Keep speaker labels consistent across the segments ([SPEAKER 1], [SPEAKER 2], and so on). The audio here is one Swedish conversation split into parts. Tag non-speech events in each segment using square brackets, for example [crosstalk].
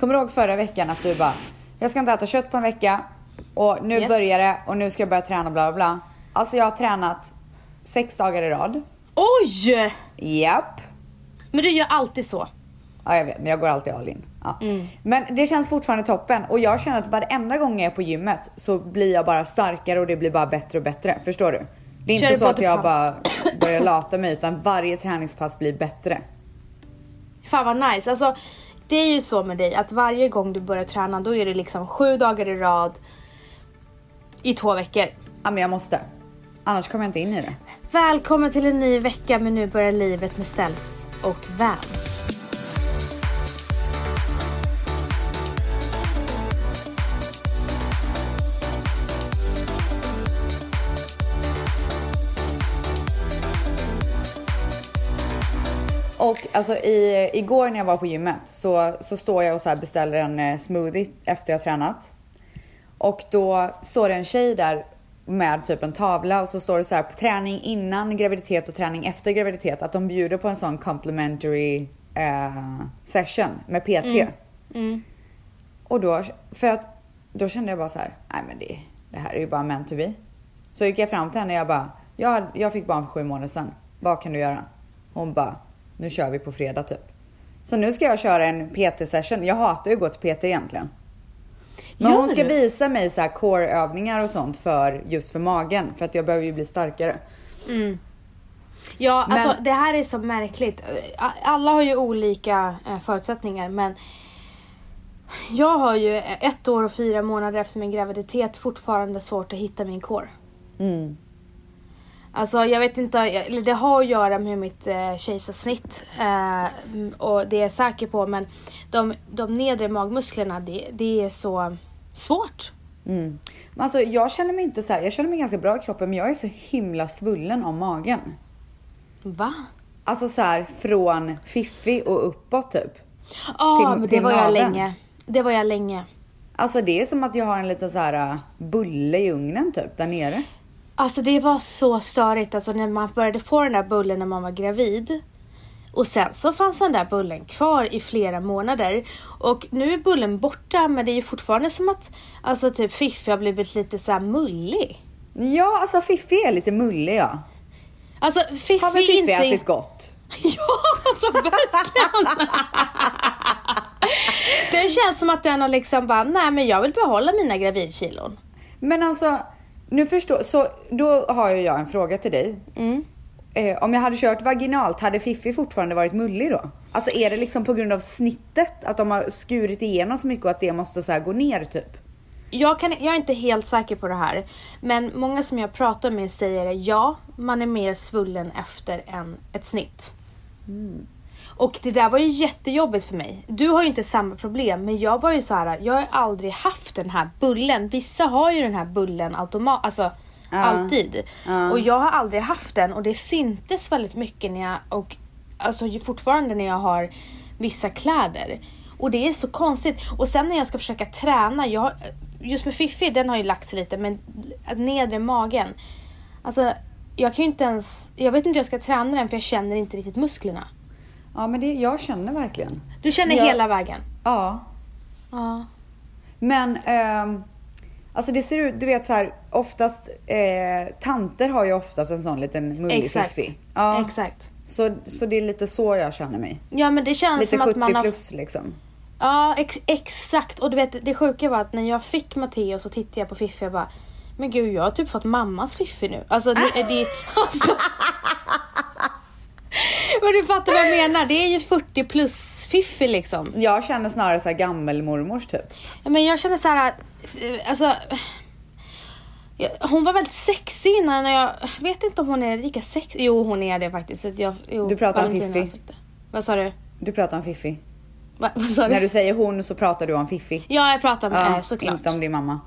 [SPEAKER 1] Kommer du ihåg förra veckan att du bara, jag ska inte äta kött på en vecka och nu
[SPEAKER 2] Yes.
[SPEAKER 1] börjar det och nu ska jag börja träna bla bla bla. Alltså jag har tränat sex dagar i rad.
[SPEAKER 2] Oj!
[SPEAKER 1] Japp.
[SPEAKER 2] Men du gör alltid så.
[SPEAKER 1] Ja jag vet, men jag går alltid all in. Ja.
[SPEAKER 2] Mm.
[SPEAKER 1] Men det känns fortfarande toppen och jag känner att varenda gång jag är på gymmet så blir jag bara starkare och det blir bara bättre och bättre. Förstår du? Det är
[SPEAKER 2] Kör
[SPEAKER 1] inte
[SPEAKER 2] du
[SPEAKER 1] så att jag
[SPEAKER 2] bodypump?
[SPEAKER 1] bara börjar lata mig utan varje träningspass blir bättre.
[SPEAKER 2] Fan vad nice. Alltså, det är ju så med dig att varje gång du börjar träna då är det liksom sju dagar i rad i två veckor.
[SPEAKER 1] Ja men jag måste. Annars kommer jag inte in i det.
[SPEAKER 2] Välkommen till en ny vecka men nu börjar livet med Ställs och Vans.
[SPEAKER 1] Och alltså i, igår när jag var på gymmet så, så står jag och så här beställer en eh, smoothie efter jag har tränat. Och då står det en tjej där med typ en tavla och så står det så här träning innan graviditet och träning efter graviditet. Att de bjuder på en sån complimentary eh, session med PT. Och då, för att, då kände jag bara så här, nej men det, det här är ju bara meant to be. Så gick jag fram till henne och jag bara, jag, jag fick barn för sju månader sedan, vad kan du göra? Hon bara, nu kör vi på fredag typ. Så nu ska jag köra en PT-session, jag hatar ju att gå till PT egentligen. Men
[SPEAKER 2] Gör
[SPEAKER 1] hon ska
[SPEAKER 2] du?
[SPEAKER 1] visa mig så här core-övningar och sånt för just för magen, för att jag behöver ju bli starkare.
[SPEAKER 2] Ja,
[SPEAKER 1] Men-
[SPEAKER 2] alltså det här är så märkligt. Alla har ju olika eh, förutsättningar men jag har ju ett år och fyra månader efter min graviditet fortfarande svårt att hitta min kår.
[SPEAKER 1] Mm.
[SPEAKER 2] Alltså jag vet inte, eller det har att göra med mitt eh, kejsarsnitt. Eh, mm, och det är jag säker på men de, de nedre magmusklerna det, det är så svårt.
[SPEAKER 1] Mm. Men alltså jag känner mig inte så här, jag känner mig ganska bra i kroppen men jag är så himla svullen om magen.
[SPEAKER 2] Va?
[SPEAKER 1] Alltså så här från fiffi och uppåt typ.
[SPEAKER 2] Ja,
[SPEAKER 1] Till-
[SPEAKER 2] men det
[SPEAKER 1] till
[SPEAKER 2] var jag
[SPEAKER 1] naveln.
[SPEAKER 2] länge. Det var jag länge.
[SPEAKER 1] Alltså det är som att jag har en liten så här äh, bulle i ugnen typ där nere.
[SPEAKER 2] Alltså det var så störigt alltså när man började få den där bullen när man var gravid. Och sen så fanns den där bullen kvar i flera månader. Och nu är bullen borta men det är ju fortfarande som att alltså typ Fiffi har blivit lite så här mullig.
[SPEAKER 1] Ja alltså fiffi är lite mullig ja.
[SPEAKER 2] Alltså Fiffi
[SPEAKER 1] Har väl
[SPEAKER 2] är
[SPEAKER 1] fiffi
[SPEAKER 2] inte...
[SPEAKER 1] ätit gott?
[SPEAKER 2] [laughs] Ja, alltså verkligen! [laughs] den känns som att den har liksom bara, nej men jag vill behålla mina gravidkilon.
[SPEAKER 1] Men alltså nu förstår, så då har ju jag en fråga till dig.
[SPEAKER 2] Mm.
[SPEAKER 1] Eh, om jag hade kört vaginalt, hade fiffi fortfarande varit mullig då? Alltså är det liksom på grund av snittet att de har skurit igenom så mycket och att det måste så här gå ner typ?
[SPEAKER 2] Jag, kan, jag är inte helt säker på det här, men många som jag pratar med säger ja, man är mer svullen efter en, ett snitt. Och det där var ju jättejobbigt för mig. Du har ju inte samma problem, men jag var ju så här, jag har aldrig haft den här bullen. Vissa har ju den här bullen automat, alltså alltid.
[SPEAKER 1] Ja.
[SPEAKER 2] Och jag har aldrig haft den och det syntes väldigt mycket när jag, och alltså ju fortfarande när jag har vissa kläder. Och det är så konstigt. Och sen när jag ska försöka träna, jag, har- just med Fifi, den har ju lagt sig lite, men nedre magen. Alltså, jag kan ju inte ens, jag vet inte hur jag ska träna den för jag känner inte riktigt musklerna.
[SPEAKER 1] Ja men det, jag känner verkligen.
[SPEAKER 2] Du känner
[SPEAKER 1] Ja.
[SPEAKER 2] hela vägen?
[SPEAKER 1] Ja.
[SPEAKER 2] Ja.
[SPEAKER 1] Men ehm, alltså det ser ut, du vet så här oftast, eh, tanter har ju oftast en sån liten mullig
[SPEAKER 2] Exakt.
[SPEAKER 1] fiffi. Ja,
[SPEAKER 2] Exakt.
[SPEAKER 1] så, så det är lite så jag känner mig.
[SPEAKER 2] Ja men det känns
[SPEAKER 1] Lite
[SPEAKER 2] Alltså som att
[SPEAKER 1] 70
[SPEAKER 2] man har...
[SPEAKER 1] plus liksom.
[SPEAKER 2] Ja ex- exakt. Och du vet det sjuka var att när jag fick Matteo så tittade jag på Fiffi och bara Men gud jag har typ fått mammas Fiffi nu. Alltså det är det...
[SPEAKER 1] [laughs]
[SPEAKER 2] Alltså... Men du fattar vad jag menar. Det är ju 40 plus Fiffi liksom.
[SPEAKER 1] Jag känner snarare så här gammelmormors typ.
[SPEAKER 2] Ja, Men jag känner så här, eh, alltså. jag- Hon var väldigt sexig innan och jag vet inte om hon är lika sexig. Jo hon är det faktiskt. Så att Jag, jo,
[SPEAKER 1] Du pratar om
[SPEAKER 2] Valentina har
[SPEAKER 1] Fiffi.
[SPEAKER 2] sagt det. Vad sa du?
[SPEAKER 1] Du pratar om fiffi.
[SPEAKER 2] Va, vad sa
[SPEAKER 1] När
[SPEAKER 2] du?
[SPEAKER 1] du säger hon så pratar du om fiffi.
[SPEAKER 2] Ja jag pratar om
[SPEAKER 1] Ja,
[SPEAKER 2] eh, såklart.
[SPEAKER 1] inte om din mamma.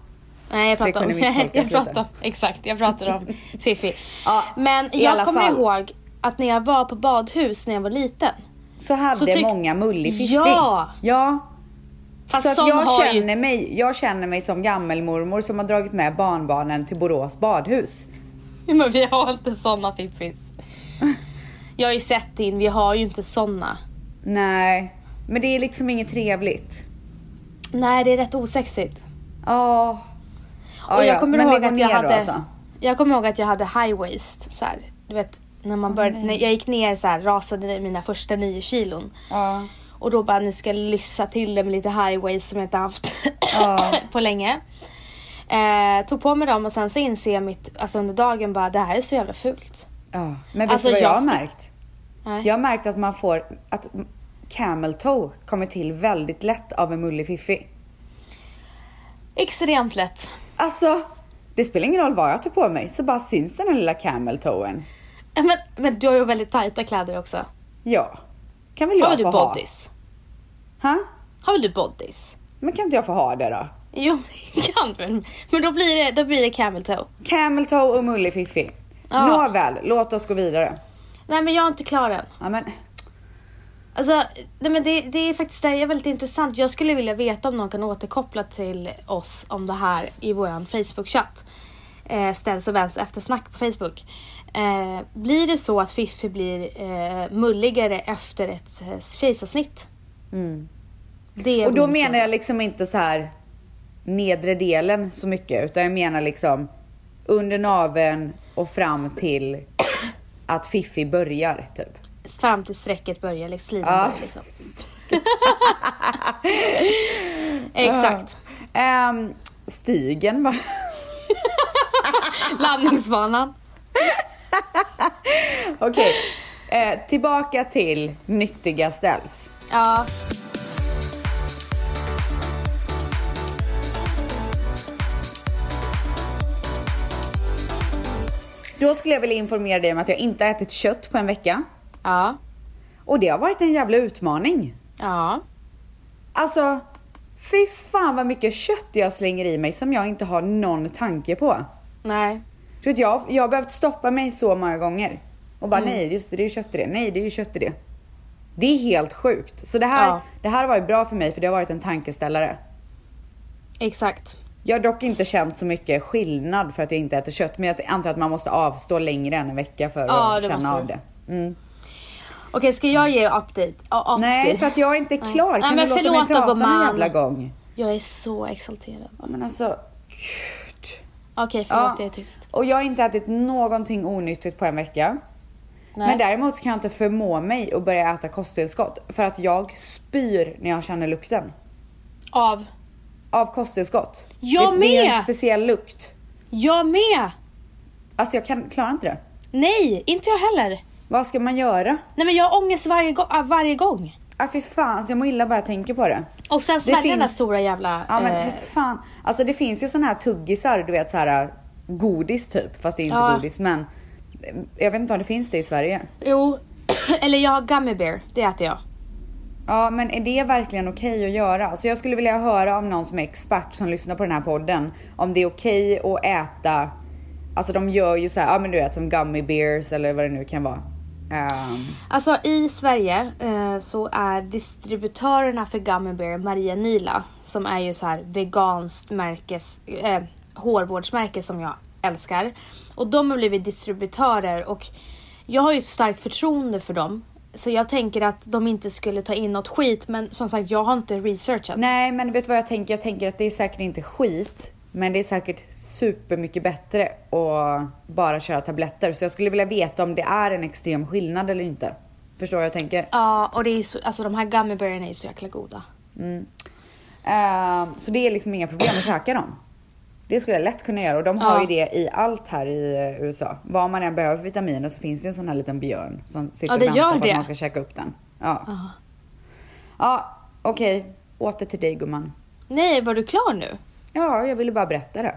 [SPEAKER 2] Nej jag pratar
[SPEAKER 1] kunde
[SPEAKER 2] om,
[SPEAKER 1] misstolkas
[SPEAKER 2] [laughs] jag
[SPEAKER 1] lite.
[SPEAKER 2] pratar om, exakt jag pratar om
[SPEAKER 1] [laughs]
[SPEAKER 2] Fifi.
[SPEAKER 1] Ja,
[SPEAKER 2] Men
[SPEAKER 1] i alla
[SPEAKER 2] jag kommer
[SPEAKER 1] fall.
[SPEAKER 2] ihåg att när jag var på badhus när jag var liten.
[SPEAKER 1] Så hade
[SPEAKER 2] Så tyck-
[SPEAKER 1] många mullig fiffi.
[SPEAKER 2] Ja.
[SPEAKER 1] ja.
[SPEAKER 2] Fast
[SPEAKER 1] Så att
[SPEAKER 2] som
[SPEAKER 1] jag
[SPEAKER 2] har ju,
[SPEAKER 1] känner, mig, jag känner mig som gammelmormor som har dragit med barnbarnen till Borås badhus.
[SPEAKER 2] [laughs] men vi har inte såna Fiffis. Jag har ju sett in, vi har ju inte såna.
[SPEAKER 1] Nej, men det är liksom inget trevligt.
[SPEAKER 2] Nej, det är rätt osexigt.
[SPEAKER 1] Ja. Ja,
[SPEAKER 2] och jag
[SPEAKER 1] ja,
[SPEAKER 2] kommer
[SPEAKER 1] men det
[SPEAKER 2] ihåg
[SPEAKER 1] går
[SPEAKER 2] att jag
[SPEAKER 1] ner
[SPEAKER 2] hade,
[SPEAKER 1] Då, alltså.
[SPEAKER 2] jag kommer ihåg att jag hade high waist så här. Du vet, när man började, när jag gick ner så här, rasade mina första nio kilon.
[SPEAKER 1] Ja.
[SPEAKER 2] Och då bara, nu ska jag lyssa till det med lite high waist som jag inte haft
[SPEAKER 1] Ja.
[SPEAKER 2] [laughs] på länge. Eh, tog på mig dem och sen så inser jag mitt, alltså under dagen bara, det här är så jävla fult.
[SPEAKER 1] Ja. Men vet
[SPEAKER 2] Alltså,
[SPEAKER 1] du vad jag,
[SPEAKER 2] jag
[SPEAKER 1] har
[SPEAKER 2] sti-
[SPEAKER 1] märkt?
[SPEAKER 2] Nej.
[SPEAKER 1] Jag har märkt att man får, att camel toe kommer till väldigt lätt av en mullig fiffi.
[SPEAKER 2] Extremt lätt.
[SPEAKER 1] Alltså, det spelar ingen roll vad jag tar på mig så bara syns den här lilla camel toe-en.
[SPEAKER 2] Eh, Men, men du har ju väldigt tajta kläder också.
[SPEAKER 1] Ja. Kan väl jag
[SPEAKER 2] Har väl
[SPEAKER 1] få
[SPEAKER 2] du
[SPEAKER 1] ha?
[SPEAKER 2] bodys?
[SPEAKER 1] Ha?
[SPEAKER 2] Har väl du bodys?
[SPEAKER 1] Men kan inte jag få ha det då?
[SPEAKER 2] Jo, [laughs] men det kan du Men då blir det, då blir det camel toe.
[SPEAKER 1] Camel toe och mullig fiffi.
[SPEAKER 2] Ja.
[SPEAKER 1] Nåväl, låt oss gå vidare.
[SPEAKER 2] Nej men jag är inte klar än.
[SPEAKER 1] Ja, men
[SPEAKER 2] Alltså, nej men det, det är faktiskt det är väldigt intressant. Jag skulle vilja veta om någon kan återkoppla till oss om det här i vår Facebook-chatt. Eh, ställs och väns eftersnack på Facebook. Eh, blir det så att Fiffi blir eh, mulligare efter ett eh, kejsarsnitt?
[SPEAKER 1] Mm.
[SPEAKER 2] Det är
[SPEAKER 1] Och då
[SPEAKER 2] min
[SPEAKER 1] menar
[SPEAKER 2] fråga.
[SPEAKER 1] jag liksom inte så här nedre delen så mycket utan jag menar liksom under naveln och fram till att Fiffi börjar typ.
[SPEAKER 2] Fram till strecket börjar liksom, slida
[SPEAKER 1] Ja.
[SPEAKER 2] börjar liksom. [laughs] Exakt.
[SPEAKER 1] Ehm, stigen va? [laughs]
[SPEAKER 2] Landningsbanan.
[SPEAKER 1] Okej. Eh, tillbaka till nyttiga ställs.
[SPEAKER 2] Ja.
[SPEAKER 1] Då skulle jag vilja informera dig om att jag inte har ätit kött på en vecka.
[SPEAKER 2] Ja.
[SPEAKER 1] Och det har varit en jävla utmaning.
[SPEAKER 2] Ja.
[SPEAKER 1] Alltså, fy fan vad mycket kött jag slänger i mig som jag inte har någon tanke på.
[SPEAKER 2] Nej.
[SPEAKER 1] Du vet, jag, jag har behövt stoppa mig så många gånger. Och
[SPEAKER 2] Mm.
[SPEAKER 1] bara nej, just det, det är ju kött i det. Nej, det är ju kött i det. Det är helt sjukt. Så det här,
[SPEAKER 2] Ja.
[SPEAKER 1] det här har varit bra för mig för det har varit en tankeställare.
[SPEAKER 2] Exakt.
[SPEAKER 1] Jag har dock inte känt så mycket skillnad för att jag inte äter kött. Men jag antar att man måste avstå längre än en vecka för
[SPEAKER 2] Ja,
[SPEAKER 1] att
[SPEAKER 2] det
[SPEAKER 1] känna
[SPEAKER 2] måste
[SPEAKER 1] av
[SPEAKER 2] du.
[SPEAKER 1] det. Mm.
[SPEAKER 2] Okej, ska jag ge update? Ja, update.
[SPEAKER 1] Nej, för att jag är inte klar.
[SPEAKER 2] Nej,
[SPEAKER 1] Kan
[SPEAKER 2] men
[SPEAKER 1] du låta mig
[SPEAKER 2] förlåt då,
[SPEAKER 1] prata någon
[SPEAKER 2] gumman.
[SPEAKER 1] jävla gång?
[SPEAKER 2] Jag är så exalterad.
[SPEAKER 1] Ja, men alltså, gud.
[SPEAKER 2] Okej, förlåt
[SPEAKER 1] Ja.
[SPEAKER 2] jag är tyst.
[SPEAKER 1] Och jag har inte ätit någonting onyttigt på en vecka.
[SPEAKER 2] Nej.
[SPEAKER 1] Men däremot så kan jag inte förmå mig att börja äta kosttillskott för att jag spyr när jag känner lukten
[SPEAKER 2] Av.
[SPEAKER 1] av kosttillskott.
[SPEAKER 2] Jag
[SPEAKER 1] det, det är en
[SPEAKER 2] med!
[SPEAKER 1] speciell lukt.
[SPEAKER 2] Jag med!
[SPEAKER 1] Alltså jag kan, klarar inte det.
[SPEAKER 2] Nej, inte jag heller.
[SPEAKER 1] Vad ska man göra?
[SPEAKER 2] Nej men jag har ångest varje, gå- ah, varje gång.
[SPEAKER 1] Ah, för fan, alltså jag mår illa bara jag tänker på det.
[SPEAKER 2] Och sen svälja den där
[SPEAKER 1] finns-
[SPEAKER 2] stora jävla...
[SPEAKER 1] Ja men
[SPEAKER 2] eh,
[SPEAKER 1] för fan. Alltså det finns ju såna här tuggisar, du vet så här äh, godis typ. Fast det är ju inte
[SPEAKER 2] Ja.
[SPEAKER 1] godis men. eh, Jag vet inte om det finns det i Sverige.
[SPEAKER 2] jo, [clears throat] eller jag har gummy bear. Det äter jag.
[SPEAKER 1] Ja men är det verkligen okej att göra? Så jag skulle vilja höra av någon som är expert som lyssnar på den här podden om det är okej att äta, alltså de gör ju så här, ja men du vet som gummy bears eller vad det nu kan vara. Ehm,
[SPEAKER 2] Alltså i Sverige eh, så är distributörerna för Gummy Bear Maria Nila som är ju så här veganskt märkes, eh, hårvårdsmärke som jag älskar. Och de har blivit distributörer och jag har ju ett starkt förtroende för dem. Så jag tänker att de inte skulle ta in något skit men som sagt jag har inte researchat.
[SPEAKER 1] nej men vet du vad jag tänker? Jag tänker att det är säkert inte skit, men det är säkert supermycket bättre att bara köra tabletter. Så jag skulle vilja veta om det är en extrem skillnad eller inte. Förstår vad jag tänker?
[SPEAKER 2] Ja och det är ju så, alltså de här Gummy Bearna är ju så jäkla goda.
[SPEAKER 1] Ehm, så det är liksom inga problem att käka dem. Det skulle jag lätt kunna göra och de har
[SPEAKER 2] Ja.
[SPEAKER 1] ju det i allt här i eh, USA. Vad man än behöver för vitaminer så finns det ju en sån här liten björn som sitter
[SPEAKER 2] Ja, det
[SPEAKER 1] och väntar
[SPEAKER 2] gör
[SPEAKER 1] på att
[SPEAKER 2] det.
[SPEAKER 1] man ska käka upp den. Ja,
[SPEAKER 2] Ja.
[SPEAKER 1] ja okej. Åter till dig gumman.
[SPEAKER 2] Nej var du klar nu?
[SPEAKER 1] Ja, jag ville bara berätta det.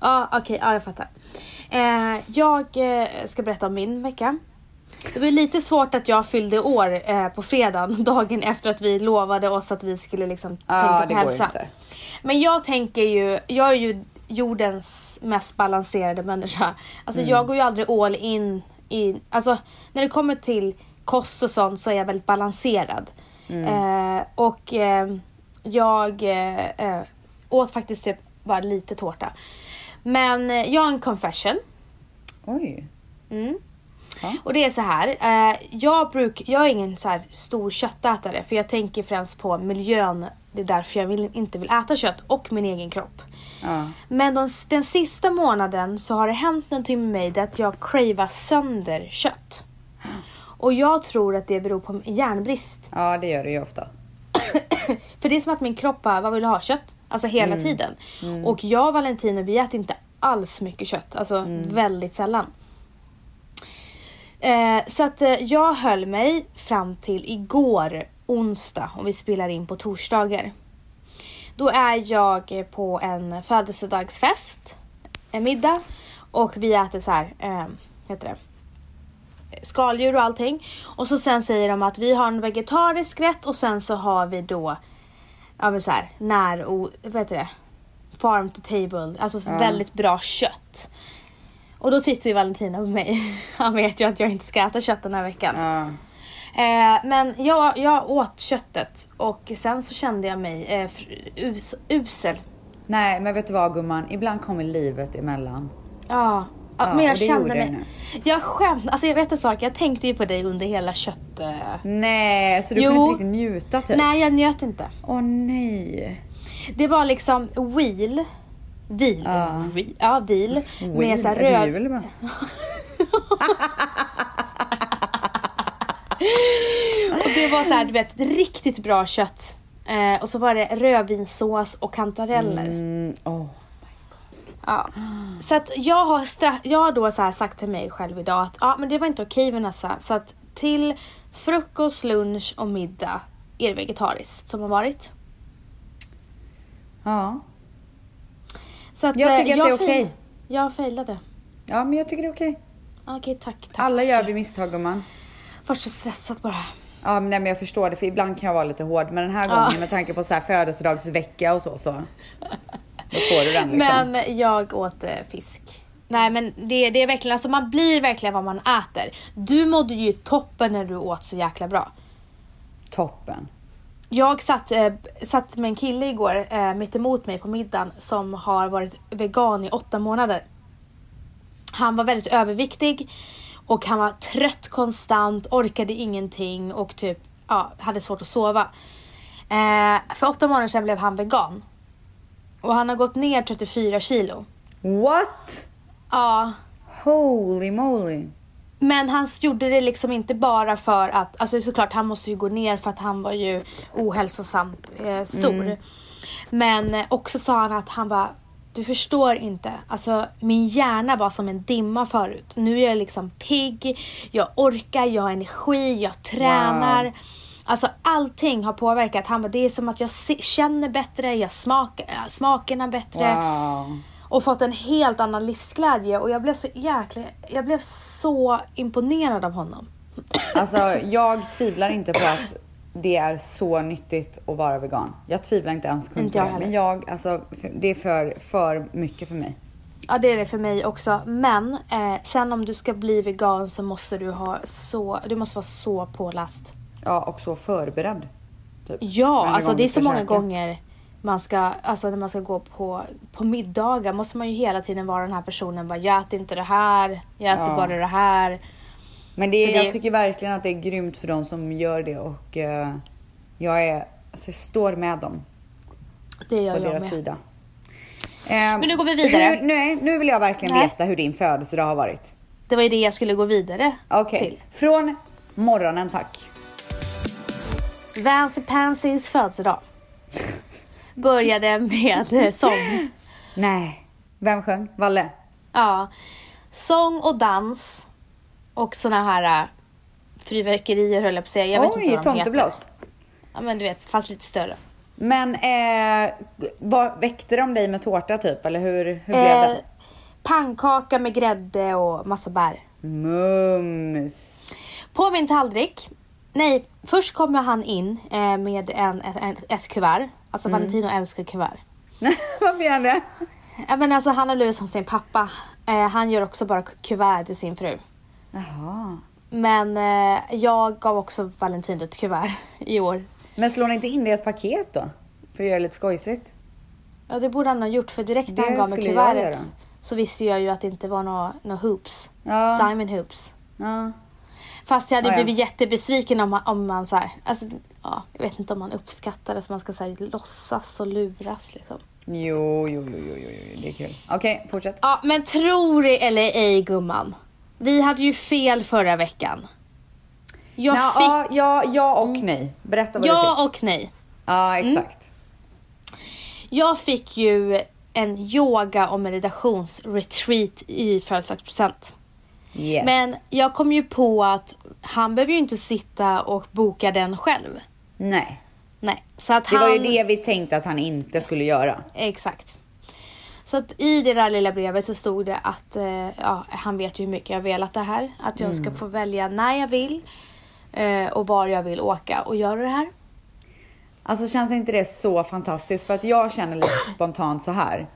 [SPEAKER 2] Ja, okej, ja, jag fattar. Eh, jag eh, ska berätta om min vecka. Det var ju lite svårt att jag fyllde år eh, på fredagen, [laughs] dagen efter att vi lovade oss att vi skulle liksom
[SPEAKER 1] Ja, det
[SPEAKER 2] tänka på
[SPEAKER 1] går ju
[SPEAKER 2] hälsa.
[SPEAKER 1] inte.
[SPEAKER 2] Men jag tänker ju, jag är ju jordens mest balanserade människa. Alltså jag går ju aldrig all in i, alltså när det kommer till kost och sånt så är jag väldigt balanserad. Eh, och eh, jag eh, eh, åt faktiskt typ bara lite tårta. Men eh, jag har en confession.
[SPEAKER 1] Oj.
[SPEAKER 2] Mm.
[SPEAKER 1] Ja.
[SPEAKER 2] Och det är så här. Eh, jag, bruk, jag är ingen så här stor köttätare för jag tänker främst på miljön. Det är därför jag vill, inte vill äta kött och min egen kropp.
[SPEAKER 1] Ja.
[SPEAKER 2] Men de, den sista månaden så har det hänt någonting med mig. Det är att jag cravar sönder kött. Och jag tror att det beror på järnbrist.
[SPEAKER 1] ja, det gör det ju ofta.
[SPEAKER 2] För det är som att min kropp bara, vad vill du ha? Kött? Alltså hela tiden. Och jag och Valentino vi äter inte alls mycket kött. Alltså väldigt sällan. Eh, så att eh, jag höll mig fram till igår onsdag och vi spelar in på torsdagar. Då är jag eh, på en födelsedagsfest, en middag och vi äter så här, eh, heter det? skaldjur och allting. Och så sen säger de att vi har en vegetarisk rätt och sen så har vi då, ja men så här, när och, vad heter det? Farm to table, alltså så väldigt bra kött. Och då tittar ju Valentina på mig. [laughs] Han vet ju att jag inte ska äta kött den här veckan.
[SPEAKER 1] Ja.
[SPEAKER 2] Eh, men jag, jag åt köttet och sen så kände jag mig eh, fr- us, usel.
[SPEAKER 1] Nej, men vet du vad gumman? Ibland kommer livet emellan.
[SPEAKER 2] Ja. Ja,
[SPEAKER 1] Ja,
[SPEAKER 2] men
[SPEAKER 1] och
[SPEAKER 2] jag
[SPEAKER 1] det
[SPEAKER 2] kände
[SPEAKER 1] gjorde det
[SPEAKER 2] mig... Jag skämt, alltså jag vet en sak, jag tänkte ju på dig under hela kött... eh,
[SPEAKER 1] Nej, så du
[SPEAKER 2] Jo.
[SPEAKER 1] kunde inte riktigt njuta typ?
[SPEAKER 2] Nej, jag njöt inte.
[SPEAKER 1] Åh nej.
[SPEAKER 2] Det var liksom wheel. Vil.
[SPEAKER 1] Ja.
[SPEAKER 2] Wheel. Ja, vil. Med
[SPEAKER 1] Wheel,
[SPEAKER 2] så här
[SPEAKER 1] ett
[SPEAKER 2] röd...
[SPEAKER 1] hjul bara.
[SPEAKER 2] Och det var så här, du vet, riktigt bra kött. Eh, och så var det rödvinssås och kantareller.
[SPEAKER 1] Mm, åh.
[SPEAKER 2] Ja. Så att jag har, stra- jag har då så här sagt till mig själv idag att ja, men det var inte okej Vanessa. Så att till frukost, lunch och middag är det vegetariskt som har varit.
[SPEAKER 1] Ja.
[SPEAKER 2] Så att,
[SPEAKER 1] Jag
[SPEAKER 2] eh,
[SPEAKER 1] tycker att det är
[SPEAKER 2] fail-
[SPEAKER 1] okej.
[SPEAKER 2] Jag failade.
[SPEAKER 1] ja, men jag tycker det är okej.
[SPEAKER 2] Okej, tack. tack.
[SPEAKER 1] Alla gör vi misstag gumman.
[SPEAKER 2] Vart så stressad bara.
[SPEAKER 1] Ja, men, nej, men jag förstår det för ibland kan jag vara lite hård. Men den här
[SPEAKER 2] Ja.
[SPEAKER 1] gången med tanke på så här födelsedagsvecka och så så. Då får du den liksom.
[SPEAKER 2] Men jag åt eh, fisk. Nej men det, det är verkligen, alltså man blir verkligen vad man äter. Du mådde ju toppen när du åt så jäkla bra.
[SPEAKER 1] Toppen.
[SPEAKER 2] Jag satt, eh, satt med en kille igår eh, mitt emot mig på middagen som har varit vegan i åtta månader. Han var väldigt överviktig och han var trött konstant, orkade ingenting och typ ja, hade svårt att sova. Eh, för åtta månader sedan blev han vegan. Och han har gått ner 34 kilo.
[SPEAKER 1] What?
[SPEAKER 2] Ja,
[SPEAKER 1] Holy moly.
[SPEAKER 2] Men han gjorde det liksom inte bara för att, alltså såklart han måste ju gå ner för att han var ju ohälsosamt eh, stor.
[SPEAKER 1] Mm.
[SPEAKER 2] Men eh, också sa han att han bara, du förstår inte, alltså min hjärna var som en dimma förut. Nu är jag liksom pigg, jag orkar, jag har energi, jag tränar.
[SPEAKER 1] Wow.
[SPEAKER 2] Alltså allting har påverkat. Han bara, det är som att jag se- känner bättre, jag smakar, äh, smakerna bättre
[SPEAKER 1] Wow.
[SPEAKER 2] och fått en helt annan livsglädje och jag blev så jäkla, jag blev så imponerad av honom.
[SPEAKER 1] Alltså jag tvivlar inte på att det är så nyttigt att vara vegan. Jag tvivlar inte ens på
[SPEAKER 2] Inte
[SPEAKER 1] det.
[SPEAKER 2] jag
[SPEAKER 1] Men jag, alltså för- det är för, för mycket för mig.
[SPEAKER 2] Ja det är det för mig också men eh, sen om du ska bli vegan så måste du ha så, du måste vara så påläst.
[SPEAKER 1] Ja, och så förberedd. Typ.
[SPEAKER 2] Ja
[SPEAKER 1] Varje
[SPEAKER 2] alltså
[SPEAKER 1] gång
[SPEAKER 2] det är
[SPEAKER 1] du
[SPEAKER 2] så
[SPEAKER 1] ska
[SPEAKER 2] många
[SPEAKER 1] käka.
[SPEAKER 2] gånger man ska, alltså när man ska gå på, på middagar måste man ju hela tiden vara den här personen bara jag äter inte det här, jag äter
[SPEAKER 1] Ja.
[SPEAKER 2] bara det här.
[SPEAKER 1] Men det,
[SPEAKER 2] Så det-
[SPEAKER 1] jag tycker verkligen att det är grymt för de som gör det och eh, jag är, alltså jag står med dem
[SPEAKER 2] Det gör
[SPEAKER 1] på
[SPEAKER 2] jag
[SPEAKER 1] deras
[SPEAKER 2] med.
[SPEAKER 1] sida. Men
[SPEAKER 2] nu går vi vidare.
[SPEAKER 1] Hur, nej, nu vill jag verkligen
[SPEAKER 2] Nej.
[SPEAKER 1] veta hur din födelsedag har varit.
[SPEAKER 2] Det var ju det jag skulle gå vidare
[SPEAKER 1] Okej,
[SPEAKER 2] till.
[SPEAKER 1] från morgonen tack.
[SPEAKER 2] Vancy Pansys födelsedag. Började med eh, sång.
[SPEAKER 1] Nej, vem sjöng? Valle?
[SPEAKER 2] Ja. Sång och dans. Och såna här eh, fyrverkerier höll jag på att säga. Jag vet
[SPEAKER 1] Oj,
[SPEAKER 2] inte vad de heter.
[SPEAKER 1] tomteblås.
[SPEAKER 2] Ja men du vet, fast lite större.
[SPEAKER 1] Men eh, vad, väckte de dig med tårta typ eller hur, hur blev
[SPEAKER 2] Eh,
[SPEAKER 1] det?
[SPEAKER 2] pannkaka med grädde och massa bär.
[SPEAKER 1] Mums. [laughs]
[SPEAKER 2] På min tallrik. Nej, först kommer han in eh, med en, en, ett kuvert. Alltså
[SPEAKER 1] Mm.
[SPEAKER 2] Valentino älskar kuvert.
[SPEAKER 1] Varför gör han det?
[SPEAKER 2] Ja, men alltså, han har lurat som sin pappa. Eh, han gör också bara ku- kuvert till sin fru.
[SPEAKER 1] Jaha.
[SPEAKER 2] Men eh, jag gav också Valentin ett kuvert [laughs] i år.
[SPEAKER 1] Men slår ni inte in det i ett paket då? För att göra det lite skojsigt?
[SPEAKER 2] Ja, det borde han ha gjort för direkt när
[SPEAKER 1] Det
[SPEAKER 2] han gav mig
[SPEAKER 1] skulle jag
[SPEAKER 2] kuvertet
[SPEAKER 1] göra.
[SPEAKER 2] så visste jag ju att det inte var några nå hoops.
[SPEAKER 1] Ja.
[SPEAKER 2] Diamond hoops.
[SPEAKER 1] Ja.
[SPEAKER 2] Fast jag hade
[SPEAKER 1] Ja, ja.
[SPEAKER 2] blivit jättebesviken om man, om man så här, alltså, ja, jag vet inte om man uppskattar det, så man ska så här, låtsas och luras liksom.
[SPEAKER 1] Jo, jo, jo, jo, jo, jo, det är kul. Okej, fortsätt.
[SPEAKER 2] Ja, men tror det eller ej gumman. Vi hade ju fel förra veckan. Jag
[SPEAKER 1] Ja,
[SPEAKER 2] fick Mm.
[SPEAKER 1] ja, ja, ja och nej. Berätta vad du fick.
[SPEAKER 2] ja och nej.
[SPEAKER 1] Ja, exakt.
[SPEAKER 2] Jag fick ju en yoga och meditationsretreat i födelsedagspresent.
[SPEAKER 1] Yes.
[SPEAKER 2] Mm. Men jag kom ju på att han behöver ju inte sitta och boka den själv.
[SPEAKER 1] Nej,
[SPEAKER 2] Nej, så att
[SPEAKER 1] det
[SPEAKER 2] han...
[SPEAKER 1] var ju det vi tänkte att han inte skulle göra.
[SPEAKER 2] Exakt. Så att i det där lilla brevet så stod det att eh, ja, han vet ju hur mycket jag har velat det här. Att jag
[SPEAKER 1] Mm.
[SPEAKER 2] ska få välja när jag vill eh, och var jag vill åka och göra det här.
[SPEAKER 1] Alltså känns inte det så fantastiskt? För att jag känner
[SPEAKER 2] [clears throat]
[SPEAKER 1] lite spontant så här.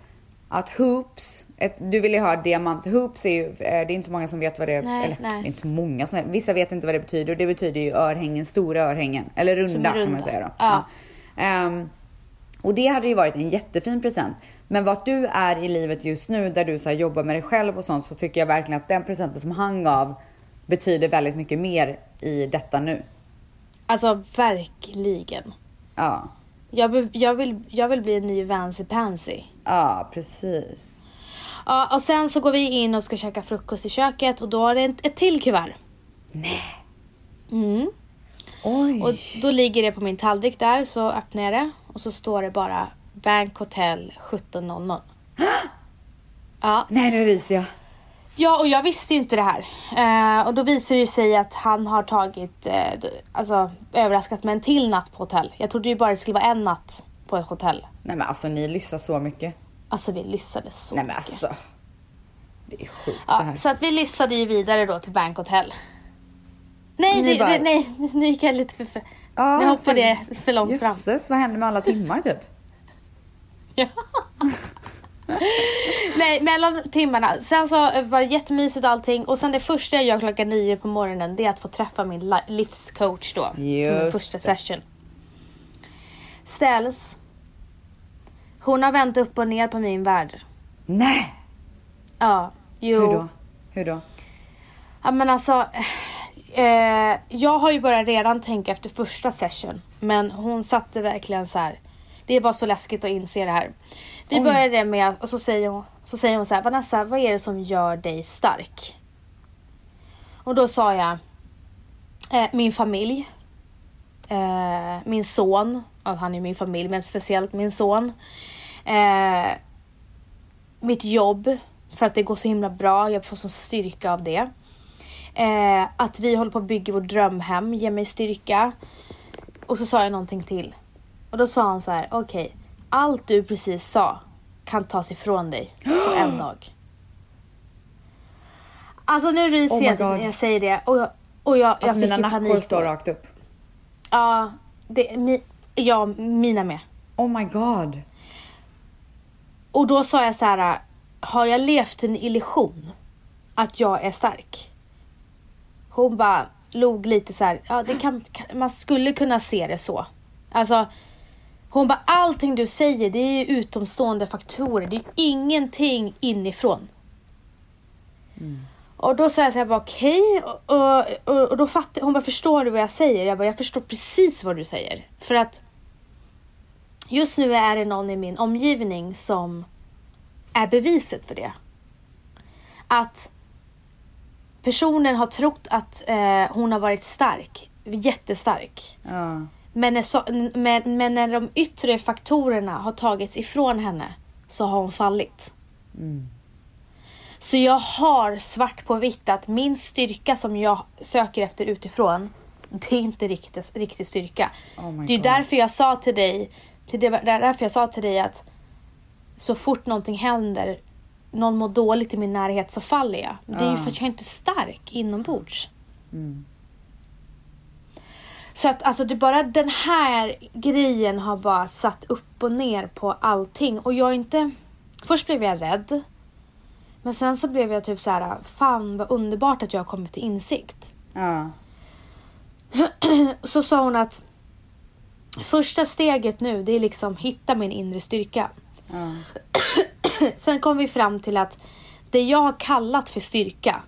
[SPEAKER 1] Att hoops, ett, du ville ha diamant. Hoops är ju, eh, det är inte så många som vet vad det,
[SPEAKER 2] Nej,
[SPEAKER 1] eller
[SPEAKER 2] nej.
[SPEAKER 1] det är inte så många som, vissa vet inte vad det betyder. Och det betyder ju örhängen, stora örhängen. Eller runda,
[SPEAKER 2] runda.
[SPEAKER 1] kan man säga då.
[SPEAKER 2] Ja.
[SPEAKER 1] Ehm, och det hade ju varit en jättefin present. Men vart du är i livet just nu där du så här jobbar med dig själv och sånt så tycker jag verkligen att den presenten som han gav betyder väldigt mycket mer i detta nu.
[SPEAKER 2] Alltså verkligen.
[SPEAKER 1] Ja,
[SPEAKER 2] Jag, be- jag, vill, jag vill bli en ny Vancy Pansy.
[SPEAKER 1] ja precis.
[SPEAKER 2] Ja, och sen så går vi in och ska käka frukost i köket och då har det ett, ett till kuvert. Nej. Mm.
[SPEAKER 1] Oj.
[SPEAKER 2] Och då ligger det på min tallrik där så öppnar jag det och så står det bara Bank Hotel 1700. ja.
[SPEAKER 1] Nej, nu ryser jag.
[SPEAKER 2] ja, och jag visste ju inte det här. Eh, och då visar det ju sig att han har tagit, eh, d- alltså överraskat med en till natt på hotell. Jag trodde ju bara det skulle vara en natt på ett hotell.
[SPEAKER 1] Nej men alltså ni lyssnar så mycket.
[SPEAKER 2] Alltså vi lyssades så
[SPEAKER 1] Nej men
[SPEAKER 2] mycket.
[SPEAKER 1] alltså. Det är sjukt det
[SPEAKER 2] Ja,
[SPEAKER 1] här.
[SPEAKER 2] så att vi lyssnade ju vidare då till Bank Hotel. Nej,
[SPEAKER 1] Ni
[SPEAKER 2] ni,
[SPEAKER 1] bara-
[SPEAKER 2] nej, [laughs] nej, nu gick jag lite för, för
[SPEAKER 1] Ja,
[SPEAKER 2] nu
[SPEAKER 1] så-
[SPEAKER 2] hoppade jag för långt fram.
[SPEAKER 1] Jösses, vad händer med alla timmar
[SPEAKER 2] [laughs]
[SPEAKER 1] typ?
[SPEAKER 2] Ja. [laughs] Nej, mellan timmarna. Sen så var det jättemysigt och allting och sen det första jag gör klockan nio på morgonen det är att få träffa min li- livscoach då. min
[SPEAKER 1] Just
[SPEAKER 2] första
[SPEAKER 1] det.
[SPEAKER 2] session. Ställs. Hon har vänt upp och ner på min värld.
[SPEAKER 1] Nej!
[SPEAKER 2] Ja, jo.
[SPEAKER 1] Hur då? Hur då?
[SPEAKER 2] Ja men alltså. Eh, jag har ju börjat redan tänka efter första session. Men hon satte verkligen så här. Det var så läskigt att inse det här. Vi
[SPEAKER 1] Oj.
[SPEAKER 2] började med och så säger hon så, säger hon så här. Vanessa vad är det som gör dig stark? Och då sa jag. Eh, min familj. Eh, min son. Ja, han är min familj men speciellt min son. Eh, mitt jobb. För att det går så himla bra. Jag får sån styrka av det. Eh, att vi håller på att bygga vårt drömhem ger mig styrka. Och så sa jag någonting till. Och då sa han så här: okej, allt du precis sa kan tas ifrån dig på
[SPEAKER 1] [gasps]
[SPEAKER 2] en dag. Alltså nu ryser
[SPEAKER 1] Oh my
[SPEAKER 2] jag
[SPEAKER 1] God.
[SPEAKER 2] när jag säger det och jag, och jag,
[SPEAKER 1] Alltså
[SPEAKER 2] jag
[SPEAKER 1] mina
[SPEAKER 2] fick ju
[SPEAKER 1] nackor
[SPEAKER 2] panik.
[SPEAKER 1] står
[SPEAKER 2] då.
[SPEAKER 1] rakt upp.
[SPEAKER 2] Ja, det, mi, ja, mina med.
[SPEAKER 1] Oh my god.
[SPEAKER 2] Och då sa jag så här, har jag levt en illusion att jag är stark? Hon bara log lite så här, ja det kan, kan, man skulle kunna se det så. Alltså, hon bara allting du säger det är ju utomstående faktorer, det är ju ingenting inifrån. Och då sa jag så här, bara, okej, och, och, och, och då fattade hon bara, förstår du vad jag säger? Jag bara, jag förstår precis vad du säger. För att Just nu är det någon i min omgivning som är beviset för det. Att personen har trott att eh, hon har varit stark, jättestark.
[SPEAKER 1] Ja.
[SPEAKER 2] Men när, så, men, men när de yttre faktorerna har tagits ifrån henne så har hon fallit.
[SPEAKER 1] Mm.
[SPEAKER 2] Så jag har svart på vitt att min styrka som jag söker efter utifrån, det är inte riktigt, riktig styrka.
[SPEAKER 1] Oh my
[SPEAKER 2] det är
[SPEAKER 1] God.
[SPEAKER 2] därför jag sa till dig, till det, det är därför jag sa till dig att så fort någonting händer, någon mår dåligt i min närhet så faller jag. Det är ju
[SPEAKER 1] Ah.
[SPEAKER 2] för att jag inte är stark inombords. Så att alltså det är bara den här grejen har bara satt upp och ner på allting och jag är inte... Först blev jag rädd. Men sen så blev jag typ så här, fan vad underbart att jag har kommit till insikt.
[SPEAKER 1] Ja.
[SPEAKER 2] Så sa hon att första steget nu det är liksom hitta min inre styrka.
[SPEAKER 1] Ja.
[SPEAKER 2] [clears throat] Sen kom vi fram till att det jag har kallat för styrka,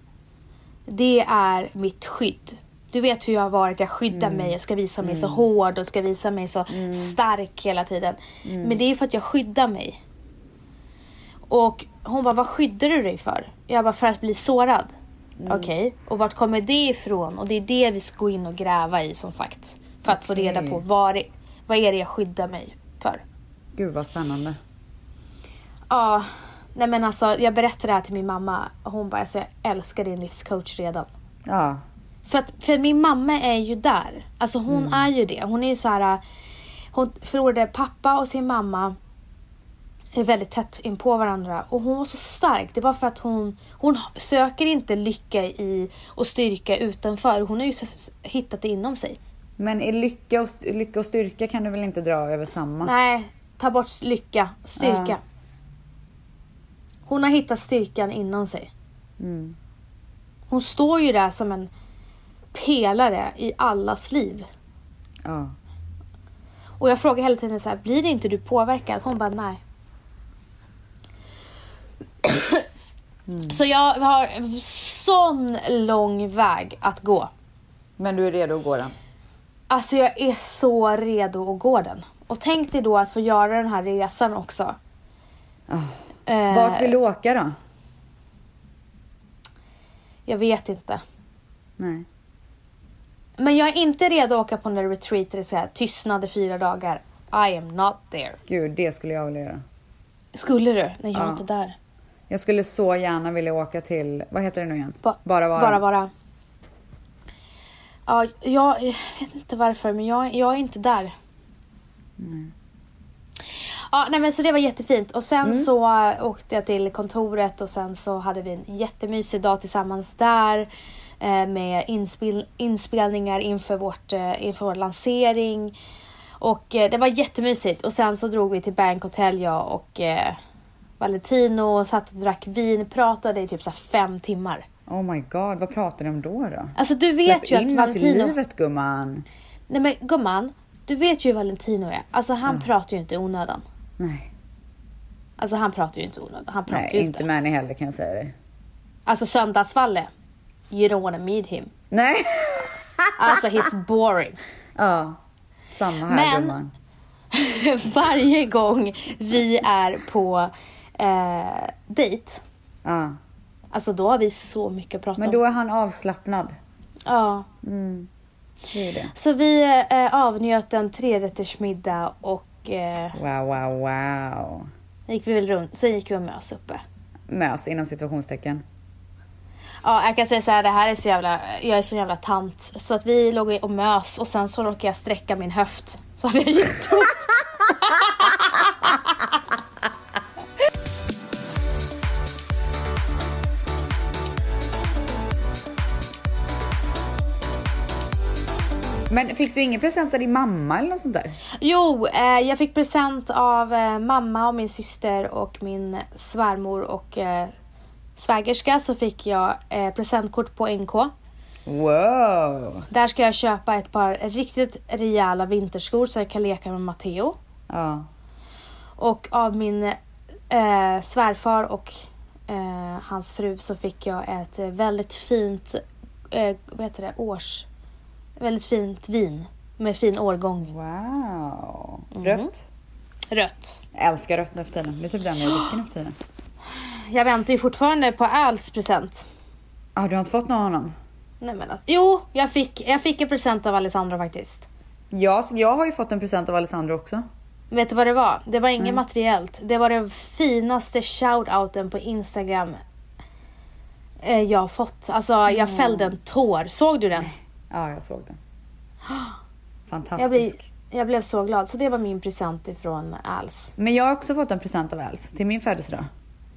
[SPEAKER 2] det är mitt skydd. Du vet hur jag har varit, jag skyddar mig och ska visa mig så hård och ska visa mig så stark hela tiden. Men det är för att jag skyddar mig. Och hon bara, vad skyddar du dig för? Jag bara, för att bli sårad. Okej, och vart kommer det ifrån? Och det är det vi ska gå in och gräva i som sagt. För att få reda
[SPEAKER 1] Okej.
[SPEAKER 2] på vad, det, vad är det jag skyddar mig för.
[SPEAKER 1] Gud vad spännande.
[SPEAKER 2] Ja, nej men alltså jag berättade det här till min mamma och hon bara alltså jag älskar din livscoach redan.
[SPEAKER 1] Ja.
[SPEAKER 2] För, att, för min mamma är ju där. Alltså hon är ju det. Hon är ju så här. äh, Hon förlorade pappa och sin mamma är väldigt tätt in på varandra och hon var så stark. Det var för att hon, hon söker inte lycka i och styrka utanför. Hon har ju s- s- hittat det inom sig.
[SPEAKER 1] Men i lycka och, st- lycka och styrka kan du väl inte dra över samma?
[SPEAKER 2] Nej, ta bort lycka, styrka.
[SPEAKER 1] Ja.
[SPEAKER 2] Hon har hittat styrkan inom sig.
[SPEAKER 1] Mm.
[SPEAKER 2] Hon står ju där som en pelare i allas liv.
[SPEAKER 1] Ja.
[SPEAKER 2] Och jag frågar hela tiden så här, blir det inte du påverkad? Hon bara, nej.
[SPEAKER 1] Mm.
[SPEAKER 2] Så jag har sån lång väg att gå.
[SPEAKER 1] Men du är redo att gå den?
[SPEAKER 2] Alltså jag är så redo att gå den. Och tänk dig då att få göra den här resan också. Eh,
[SPEAKER 1] Ah. Vart vill du åka då?
[SPEAKER 2] Jag vet inte.
[SPEAKER 1] Nej.
[SPEAKER 2] Men jag är inte redo att åka på en retreat där det är så här, tystnad i fyra dagar. I am not there.
[SPEAKER 1] Gud, det skulle jag vilja göra.
[SPEAKER 2] Skulle du? Nej, jag är
[SPEAKER 1] Ja.
[SPEAKER 2] inte där.
[SPEAKER 1] Jag skulle så gärna vilja åka till, vad heter det nu igen?
[SPEAKER 2] Ba-
[SPEAKER 1] bara vara.
[SPEAKER 2] Bara vara. Ja, jag, jag vet inte varför men jag, jag är inte där. Ja, nej men så det var jättefint och sen
[SPEAKER 1] Mm.
[SPEAKER 2] så eh, åkte jag till kontoret och sen så hade vi en jättemysig dag tillsammans där eh, med inspel- inspelningar inför, vårt, eh, inför vår lansering. Och eh, det var jättemysigt och sen så drog vi till Bank Hotel jag och eh, Valentino och satt och drack vin, pratade i typ så här fem timmar.
[SPEAKER 1] Oh my god, vad pratar de om då då?
[SPEAKER 2] Alltså du vet
[SPEAKER 1] Släpp
[SPEAKER 2] ju att
[SPEAKER 1] in oss i
[SPEAKER 2] Valentino...
[SPEAKER 1] livet gumman.
[SPEAKER 2] Nej men gumman, du vet ju hur Valentino är. Alltså han pratar ju inte i onödan.
[SPEAKER 1] Nej,
[SPEAKER 2] Alltså han pratar ju inte i onödan. Han pratar
[SPEAKER 1] nej
[SPEAKER 2] ju
[SPEAKER 1] inte.
[SPEAKER 2] inte.
[SPEAKER 1] med ni heller kan jag säga det.
[SPEAKER 2] Alltså söndagsvalle. You don't wanna meet him.
[SPEAKER 1] Nej. [laughs]
[SPEAKER 2] Alltså he's boring. [laughs]
[SPEAKER 1] ja, samma här
[SPEAKER 2] Men-
[SPEAKER 1] gumman.
[SPEAKER 2] Varje gång vi är på eh, dejt.
[SPEAKER 1] Ja.
[SPEAKER 2] Alltså då har vi så mycket att prata
[SPEAKER 1] Men
[SPEAKER 2] om.
[SPEAKER 1] då är han avslappnad.
[SPEAKER 2] Ja.
[SPEAKER 1] Det är det.
[SPEAKER 2] Så vi eh, avnjöt en trerättersmiddag och eh,
[SPEAKER 1] Wow, wow, wow.
[SPEAKER 2] gick vi väl runt. Sen gick vi och mös uppe.
[SPEAKER 1] Mös inom situationstecken.
[SPEAKER 2] Ja, jag kan säga så här, det här är så jävla, jag är så jävla tant. Så att vi låg och mös och sen så råkade jag sträcka min höft. Så hade jag jätteont.
[SPEAKER 1] Men fick du ingen present av din mamma eller något sånt där?
[SPEAKER 2] Jo, eh, jag fick present av eh, mamma och min syster och min svärmor och eh, svägerska så fick jag eh, presentkort på NK.
[SPEAKER 1] Wow!
[SPEAKER 2] Där ska jag köpa ett par riktigt rejäla vinterskor så jag kan leka med Matteo.
[SPEAKER 1] Ja.
[SPEAKER 2] Och av min eh, svärfar och eh, hans fru så fick jag ett eh, väldigt fint, eh, vad heter det, års... Väldigt fint vin med fin årgång.
[SPEAKER 1] Wow.
[SPEAKER 2] Mm.
[SPEAKER 1] Rött.
[SPEAKER 2] Rött.
[SPEAKER 1] Älskar rött nu för tiden. Det är typ den jag dricker nu för tiden.
[SPEAKER 2] Jag väntar ju fortfarande på Öls present.
[SPEAKER 1] Ah, du har inte fått någon av honom?
[SPEAKER 2] Nej men att- Jo, jag fick, jag fick en present av Alessandra faktiskt.
[SPEAKER 1] Jag, jag har ju fått en present av Alessandro också.
[SPEAKER 2] Vet du vad det var? Det var inget materiellt. Det var den finaste shoutouten på Instagram eh, jag har fått. Alltså jag fällde en tår. Såg du den?
[SPEAKER 1] Ja, jag [gasps] såg den.
[SPEAKER 2] Jag,
[SPEAKER 1] Fantastisk.
[SPEAKER 2] blir, jag blev så glad. Så det var min present ifrån Als.
[SPEAKER 1] Men jag har också fått en present av Els till min födelsedag.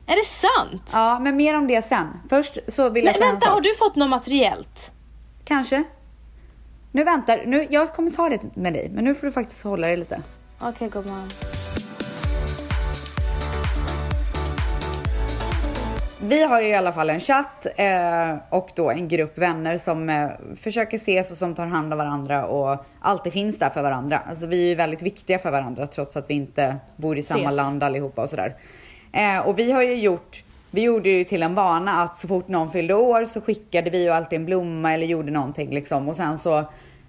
[SPEAKER 2] Är det sant?
[SPEAKER 1] Ja, men mer om det sen. Först så vill jag
[SPEAKER 2] Men
[SPEAKER 1] säga en
[SPEAKER 2] vänta,
[SPEAKER 1] sak.
[SPEAKER 2] har du fått något materiellt?
[SPEAKER 1] Kanske. Nu väntar, nu, jag kommer ta det med dig, men nu får du faktiskt hålla dig lite.
[SPEAKER 2] Okej gumman.
[SPEAKER 1] Vi har ju i alla fall en chatt eh, och då en grupp vänner som eh, försöker ses och som tar hand om varandra och alltid finns där för varandra. Alltså vi är ju väldigt viktiga för varandra trots att vi inte bor i samma
[SPEAKER 2] Ses.
[SPEAKER 1] land allihopa och sådär. Eh, och vi har ju gjort Vi gjorde ju till en vana att så fort någon fyllde år så skickade vi ju alltid en blomma eller gjorde någonting liksom. Och sen så,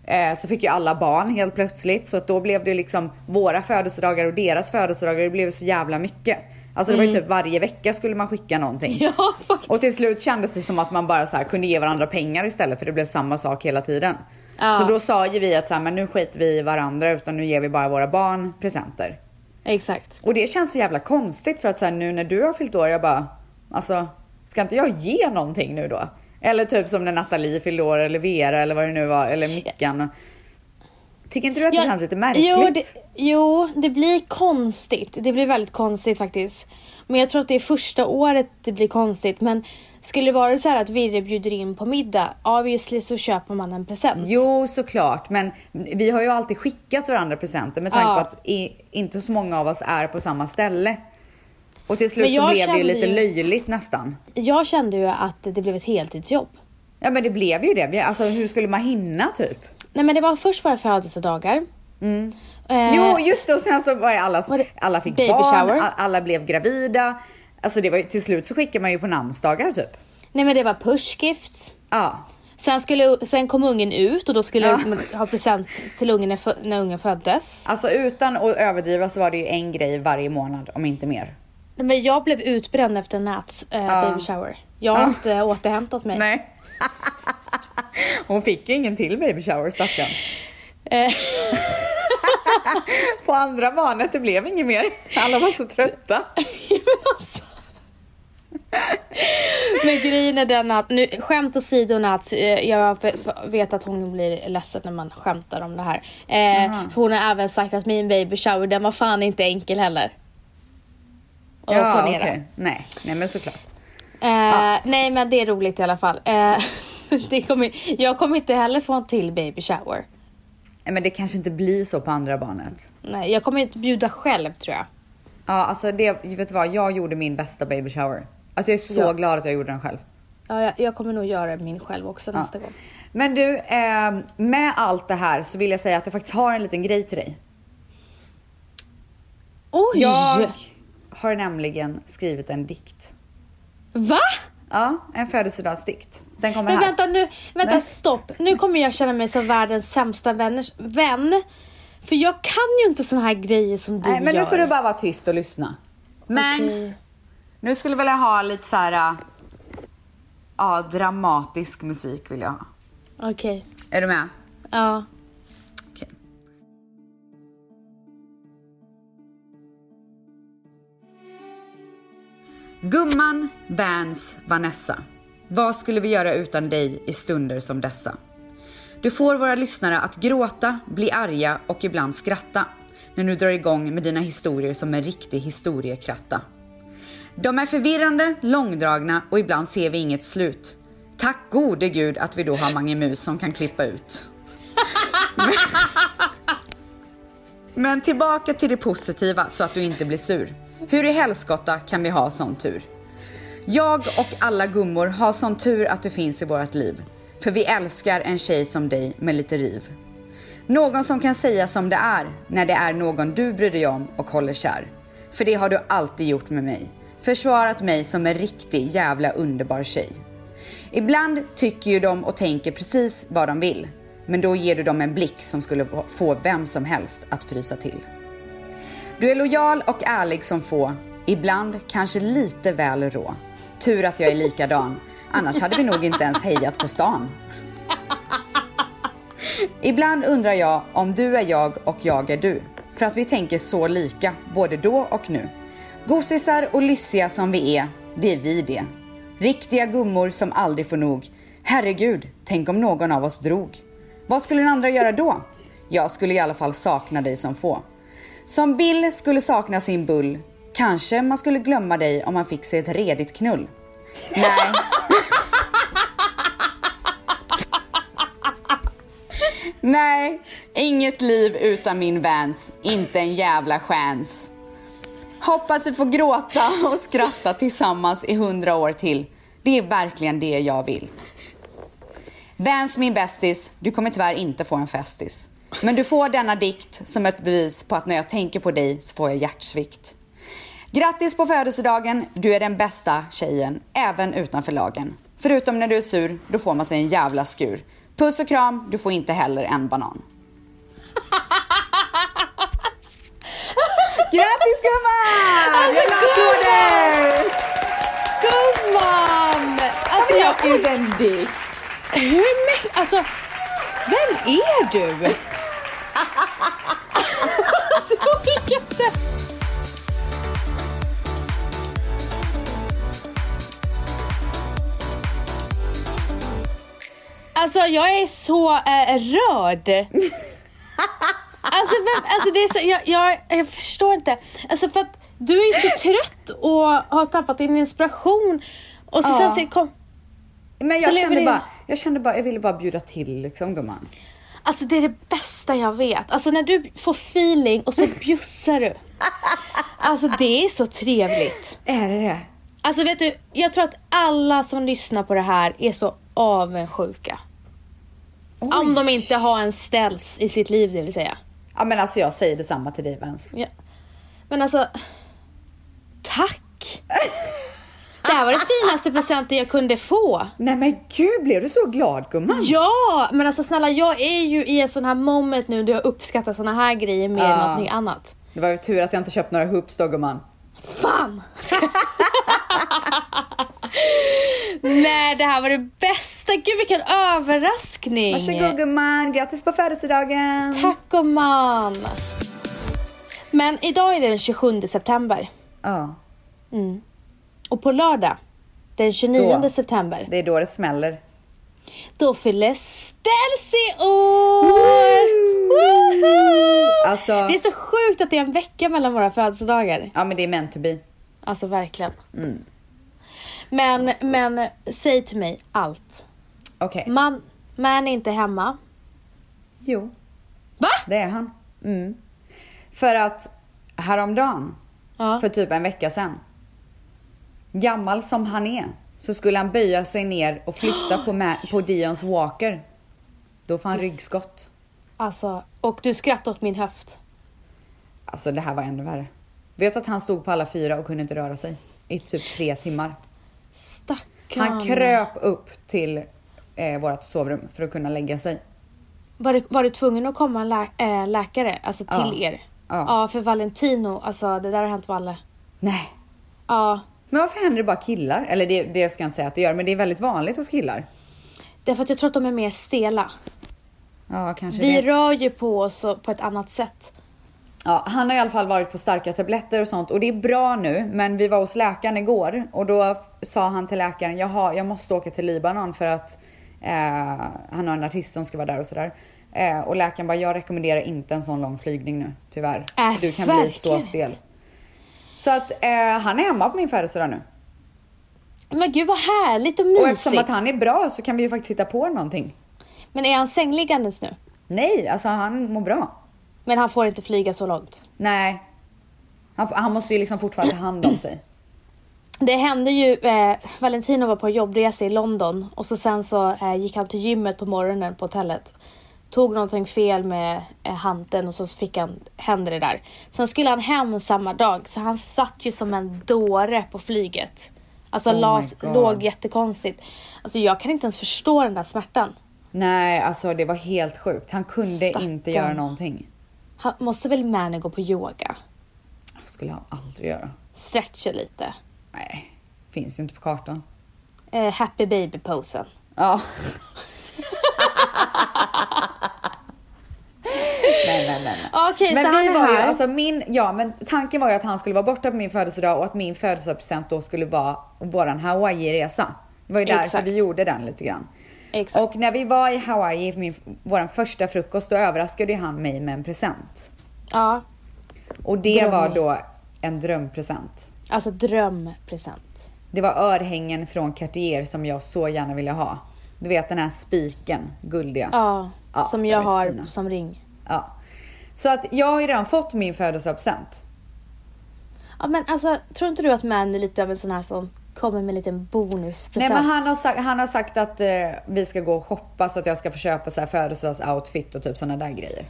[SPEAKER 1] eh, så fick ju alla barn helt plötsligt. Så att då blev det liksom våra födelsedagar och deras födelsedagar. Det blev så jävla mycket. Alltså det var ju typ varje vecka skulle man skicka någonting.
[SPEAKER 2] Mm. Ja, faktiskt.
[SPEAKER 1] Och till slut kändes det som att man bara så här kunde ge varandra pengar istället för det blev samma sak hela tiden.
[SPEAKER 2] Ja.
[SPEAKER 1] Så då sa ju vi att så här, men nu skiter vi i varandra utan nu ger vi bara våra barn presenter.
[SPEAKER 2] Exakt.
[SPEAKER 1] Och det känns så jävla konstigt för att så här, nu när du har fyllt år, jag bara, alltså ska inte jag ge någonting nu då? Eller typ som när Nathalie fyllde år eller Vera eller vad det nu var, eller Mickan. Tycker inte du att det
[SPEAKER 2] Ja,
[SPEAKER 1] känns lite märkligt?
[SPEAKER 2] Jo det, jo, det blir konstigt. Det blir väldigt konstigt faktiskt. Men jag tror att det är första året det blir konstigt. Men skulle det vara så här att Virre bjuder in på middag, obviously så köper man en present.
[SPEAKER 1] Jo, såklart. Men vi har ju alltid skickat varandra presenter med tanke
[SPEAKER 2] Ja.
[SPEAKER 1] på att i, inte så många av oss är på samma ställe. Och till slut
[SPEAKER 2] Men
[SPEAKER 1] så
[SPEAKER 2] jag
[SPEAKER 1] blev det ju
[SPEAKER 2] kände
[SPEAKER 1] lite
[SPEAKER 2] ju-
[SPEAKER 1] löjligt nästan.
[SPEAKER 2] Jag kände ju att det blev ett heltidsjobb.
[SPEAKER 1] Ja men det blev ju det. Vi- Alltså hur skulle man hinna typ?
[SPEAKER 2] Nej men det var först våra födelsedagar. Eh,
[SPEAKER 1] Mm. Jo just det och sen så var ju alla,
[SPEAKER 2] var det
[SPEAKER 1] alla fick
[SPEAKER 2] baby
[SPEAKER 1] barn,
[SPEAKER 2] shower?
[SPEAKER 1] a- alla blev gravida. Alltså det var ju, till slut så skickar man ju på namnsdagar typ.
[SPEAKER 2] Nej men det var pushgifts.
[SPEAKER 1] Ja.
[SPEAKER 2] Sen, skulle, sen kom ungen ut och då skulle
[SPEAKER 1] Ja.
[SPEAKER 2] man ha present till ungen när, fö- när ungen föddes.
[SPEAKER 1] Alltså utan att överdriva så var det ju en grej varje månad om inte mer.
[SPEAKER 2] Nej, Men jag blev utbränd efter Nats eh, baby shower. Jag har inte återhämtat [laughs] mig.
[SPEAKER 1] Nej. [laughs] Hon fick ju ingen till baby shower stackarn.
[SPEAKER 2] Eh,
[SPEAKER 1] [laughs] På andra barnet, det blev inget mer. Alla var så trötta.
[SPEAKER 2] alltså. men grejen är den att, nu, skämt åsido Nats, eh, jag f- f- vet att hon blir ledsen när man skämtar om det här. Eh, för hon har även sagt att min baby shower den var fan inte enkel heller. Och planera.
[SPEAKER 1] Nej, nej men såklart.
[SPEAKER 2] Eh, Nej men det är roligt i alla fall. Eh, [laughs] det kommer, jag kommer inte heller få en till baby shower.
[SPEAKER 1] Men det kanske inte blir så på andra barnet.
[SPEAKER 2] Nej, jag kommer inte bjuda själv tror jag.
[SPEAKER 1] Ja, alltså det, vet du vad? Jag gjorde min bästa baby shower. Alltså jag är så
[SPEAKER 2] Ja.
[SPEAKER 1] glad att jag gjorde den själv.
[SPEAKER 2] Ja, jag, jag kommer nog göra min själv också nästa gång.
[SPEAKER 1] Men du, eh, med allt det här så vill jag säga att jag faktiskt har en liten grej till dig.
[SPEAKER 2] Oj!
[SPEAKER 1] Jag har nämligen skrivit en dikt.
[SPEAKER 2] Va?
[SPEAKER 1] Ja, en födelsedagsdikt. Den kommer
[SPEAKER 2] Men
[SPEAKER 1] här.
[SPEAKER 2] vänta nu, vänta
[SPEAKER 1] Nej.
[SPEAKER 2] stopp. Nu kommer jag känna mig som världens sämsta vänners, vän. För jag kan ju inte såna här grejer som du
[SPEAKER 1] Nej, men
[SPEAKER 2] gör.
[SPEAKER 1] nu får du bara vara tyst och lyssna. Mangs,
[SPEAKER 2] Okej.
[SPEAKER 1] nu skulle jag vilja ha lite så här... äh, Ja, dramatisk musik vill jag ha.
[SPEAKER 2] Okej.
[SPEAKER 1] Är du med?
[SPEAKER 2] Ja.
[SPEAKER 1] Okej. Gumman, Vans, Vanessa. Vad skulle vi göra utan dig i stunder som dessa? Du får våra lyssnare att gråta, bli arga och ibland skratta när du drar igång med dina historier som en riktig historiekratta. De är förvirrande, långdragna och ibland ser vi inget slut. Tack gode gud att vi då har Mange Mus som kan klippa ut. Men tillbaka till det positiva så att du inte blir sur. Hur i helskotta kan vi ha sån tur? Jag och alla gummor har sån tur att du finns i vårt liv. För vi älskar en tjej som dig med lite riv. Någon som kan säga som det är när det är någon du bryr dig om och håller kär. För det har du alltid gjort med mig. Försvarat mig som en riktig jävla underbar tjej. Ibland tycker ju de och tänker precis vad de vill. Men då ger du dem en blick som skulle få vem som helst att frysa till. Du är lojal och ärlig som få. Ibland kanske lite väl rå. Tur att jag är likadan. Annars hade vi nog inte ens hejat på stan. Ibland undrar jag om du är jag och jag är du. För att vi tänker så lika, både då och nu. Gosisar och lyssiga som vi är, det är vi det. Riktiga gummor som aldrig får nog. Herregud, tänk om någon av oss drog. Vad skulle den andra göra då? Jag skulle i alla fall sakna dig som få. Som Bill skulle sakna sin bull. Kanske man skulle glömma dig om man fick sig ett redigt knull. Nej. Nej, inget liv utan min Vans. Inte en jävla chans. Hoppas vi får gråta och skratta tillsammans i hundra år till. Det är verkligen det jag vill. Vans min bästis, du kommer tyvärr inte få en festis. Men du får denna dikt som ett bevis på att när jag tänker på dig så får jag hjärtsvikt. Grattis på födelsedagen, du är den bästa tjejen, även utanför lagen. Förutom när du är sur, då får man sig en jävla skur. Puss och kram, du får inte heller en [laughs] banan. Grattis gumman!
[SPEAKER 2] Alltså,
[SPEAKER 1] Jävla applåder!
[SPEAKER 2] Gumman! Alltså
[SPEAKER 1] Jag har
[SPEAKER 2] jag skulle...
[SPEAKER 1] skrivit en dikt.
[SPEAKER 2] Hur mycket? Alltså, vem är du? alltså vilket... Alltså jag är så eh, rörd. Alltså, vem, alltså det är så, jag, jag, jag förstår inte. Alltså för att du är så trött och har tappat din inspiration. Och så
[SPEAKER 1] Ja.
[SPEAKER 2] sen så kom,
[SPEAKER 1] Men
[SPEAKER 2] Så
[SPEAKER 1] jag
[SPEAKER 2] lever
[SPEAKER 1] kände,
[SPEAKER 2] din-
[SPEAKER 1] bara, jag kände bara, jag ville bara bjuda till liksom gumman.
[SPEAKER 2] Alltså det är det bästa jag vet. Alltså när du får feeling och så bjussar du. Alltså det är så trevligt.
[SPEAKER 1] Är det det?
[SPEAKER 2] Alltså vet du, jag tror att alla som lyssnar på det här är så avundsjuka. Om de inte har en ställs i sitt liv det vill säga.
[SPEAKER 1] Ja men alltså jag säger detsamma till dig Vens.
[SPEAKER 2] Ja. Men alltså, tack! Det här var den finaste presenten jag kunde få.
[SPEAKER 1] Nej men gud, blev du så glad gumman?
[SPEAKER 2] Ja, men alltså snälla jag är ju i en sån här moment nu där jag uppskattar såna här grejer mer än
[SPEAKER 1] Ja.
[SPEAKER 2] någonting annat.
[SPEAKER 1] Det var ju tur att jag inte köpt några hoops då gumman.
[SPEAKER 2] Fan! Nej, det här var det bästa. Gud, vilken överraskning!
[SPEAKER 1] Varsågod gumman, grattis på födelsedagen!
[SPEAKER 2] Tack gumman! Men idag är det den 27 september
[SPEAKER 1] Ja,
[SPEAKER 2] och på lördag den 29
[SPEAKER 1] Då.
[SPEAKER 2] september
[SPEAKER 1] det är då det smäller.
[SPEAKER 2] då fyller Stelzy år! Woho!
[SPEAKER 1] Alltså,
[SPEAKER 2] Det är så sjukt att det är en vecka mellan våra födelsedagar.
[SPEAKER 1] ja men det är meant to be.
[SPEAKER 2] Alltså verkligen.
[SPEAKER 1] Mm.
[SPEAKER 2] Men, men säg till mig allt.
[SPEAKER 1] Okej.
[SPEAKER 2] Man, man är inte hemma.
[SPEAKER 1] Jo,
[SPEAKER 2] Va?
[SPEAKER 1] det är han. Mm. För att häromdagen,
[SPEAKER 2] Ja.
[SPEAKER 1] för typ en vecka sedan, gammal som han är, så skulle han böja sig ner och
[SPEAKER 2] [gasps]
[SPEAKER 1] flytta på, Ma- på Dions walker. Då får han ryggskott.
[SPEAKER 2] Alltså, och du skrattade åt min höft.
[SPEAKER 1] Alltså det här var ännu värre. Vet att han stod på alla fyra och kunde inte röra sig i typ tre timmar.
[SPEAKER 2] Stackarn.
[SPEAKER 1] Han kröp upp till eh, vårt sovrum för att kunna lägga sig.
[SPEAKER 2] Var, det, var det tvungen att komma en lä, äh, läkare, alltså till
[SPEAKER 1] Ja.
[SPEAKER 2] er?
[SPEAKER 1] Ja.
[SPEAKER 2] ja, för Valentino, alltså det där har hänt Valle.
[SPEAKER 1] Nej.
[SPEAKER 2] Ja,
[SPEAKER 1] Men varför händer det bara killar? Eller det, det ska jag inte säga att det gör, men det är väldigt vanligt hos killar.
[SPEAKER 2] därför att jag tror att de är mer stela.
[SPEAKER 1] Ja, kanske
[SPEAKER 2] Vi
[SPEAKER 1] det.
[SPEAKER 2] rör ju på oss och- på ett annat sätt.
[SPEAKER 1] Ja, han har i alla fall varit på starka tabletter och sånt och det är bra nu. Men vi var hos läkaren igår och då f- sa han till läkaren, jaha, jag måste åka till Libanon för att eh, han har en artist som ska vara där och sådär. Eh, och läkaren bara, jag rekommenderar inte en sån lång flygning nu, tyvärr.
[SPEAKER 2] Äh,
[SPEAKER 1] För du kan bli så
[SPEAKER 2] verkligen.
[SPEAKER 1] stel. Så att eh, han är hemma på min födelsedag nu.
[SPEAKER 2] Men gud vad härligt och
[SPEAKER 1] Och
[SPEAKER 2] mysigt.
[SPEAKER 1] eftersom att han är bra så kan vi ju faktiskt hitta på någonting.
[SPEAKER 2] Men är han sängliggandes nu?
[SPEAKER 1] Nej, alltså han mår bra.
[SPEAKER 2] Men han får inte flyga så långt.
[SPEAKER 1] Nej. Han, f- han måste ju liksom fortfarande ta hand om sig.
[SPEAKER 2] Det hände ju, eh, Valentino var på jobbresa i London och så sen så eh, gick han till gymmet på morgonen på hotellet. Tog någonting fel med eh, hanteln och så fick han, hände det där. Sen skulle han hem samma dag så han satt ju som en dåre på flyget. Alltså
[SPEAKER 1] Oh my
[SPEAKER 2] las,
[SPEAKER 1] God.
[SPEAKER 2] låg jättekonstigt. Alltså jag kan inte ens förstå den där smärtan.
[SPEAKER 1] Nej, alltså det var helt sjukt. Han kunde
[SPEAKER 2] Stackarn.
[SPEAKER 1] inte göra någonting.
[SPEAKER 2] Han, måste väl Mani gå på yoga?
[SPEAKER 1] Det skulle han aldrig göra.
[SPEAKER 2] Stretcha lite.
[SPEAKER 1] Nej, finns ju inte på kartan.
[SPEAKER 2] Eh, happy baby-posen.
[SPEAKER 1] Ja. [laughs] nej, nej, nej. nej.
[SPEAKER 2] Okej, så
[SPEAKER 1] men
[SPEAKER 2] han
[SPEAKER 1] vi
[SPEAKER 2] är
[SPEAKER 1] var ju,
[SPEAKER 2] här.
[SPEAKER 1] alltså min, ja men tanken var ju att han skulle vara borta på min födelsedag och att min födelsedagspresent då skulle vara våran Hawaii-resa. Det var ju därför
[SPEAKER 2] Exakt.
[SPEAKER 1] vi gjorde den lite grann.
[SPEAKER 2] Exakt.
[SPEAKER 1] Och när vi var i Hawaii, min, våran första frukost, då överraskade ju han mig med en present.
[SPEAKER 2] Ja,
[SPEAKER 1] Och det
[SPEAKER 2] Drömmen.
[SPEAKER 1] var då en drömpresent.
[SPEAKER 2] alltså drömpresent.
[SPEAKER 1] Det var örhängen från Cartier som jag så gärna ville ha. Du vet den här spiken, guldiga.
[SPEAKER 2] Ja,
[SPEAKER 1] Ja,
[SPEAKER 2] som
[SPEAKER 1] de
[SPEAKER 2] jag
[SPEAKER 1] är så
[SPEAKER 2] har
[SPEAKER 1] fina.
[SPEAKER 2] som ring.
[SPEAKER 1] Ja. Så att jag har ju redan fått min födelsedagspresent.
[SPEAKER 2] Ja, men alltså, tror inte du att man är lite av en sån här som kommer med en liten
[SPEAKER 1] Nej
[SPEAKER 2] bonuspresent?
[SPEAKER 1] men han har sagt, han har sagt att eh, vi ska gå och shoppa så att jag ska få köpa så här födelsedagsoutfit och typ sådana där grejer.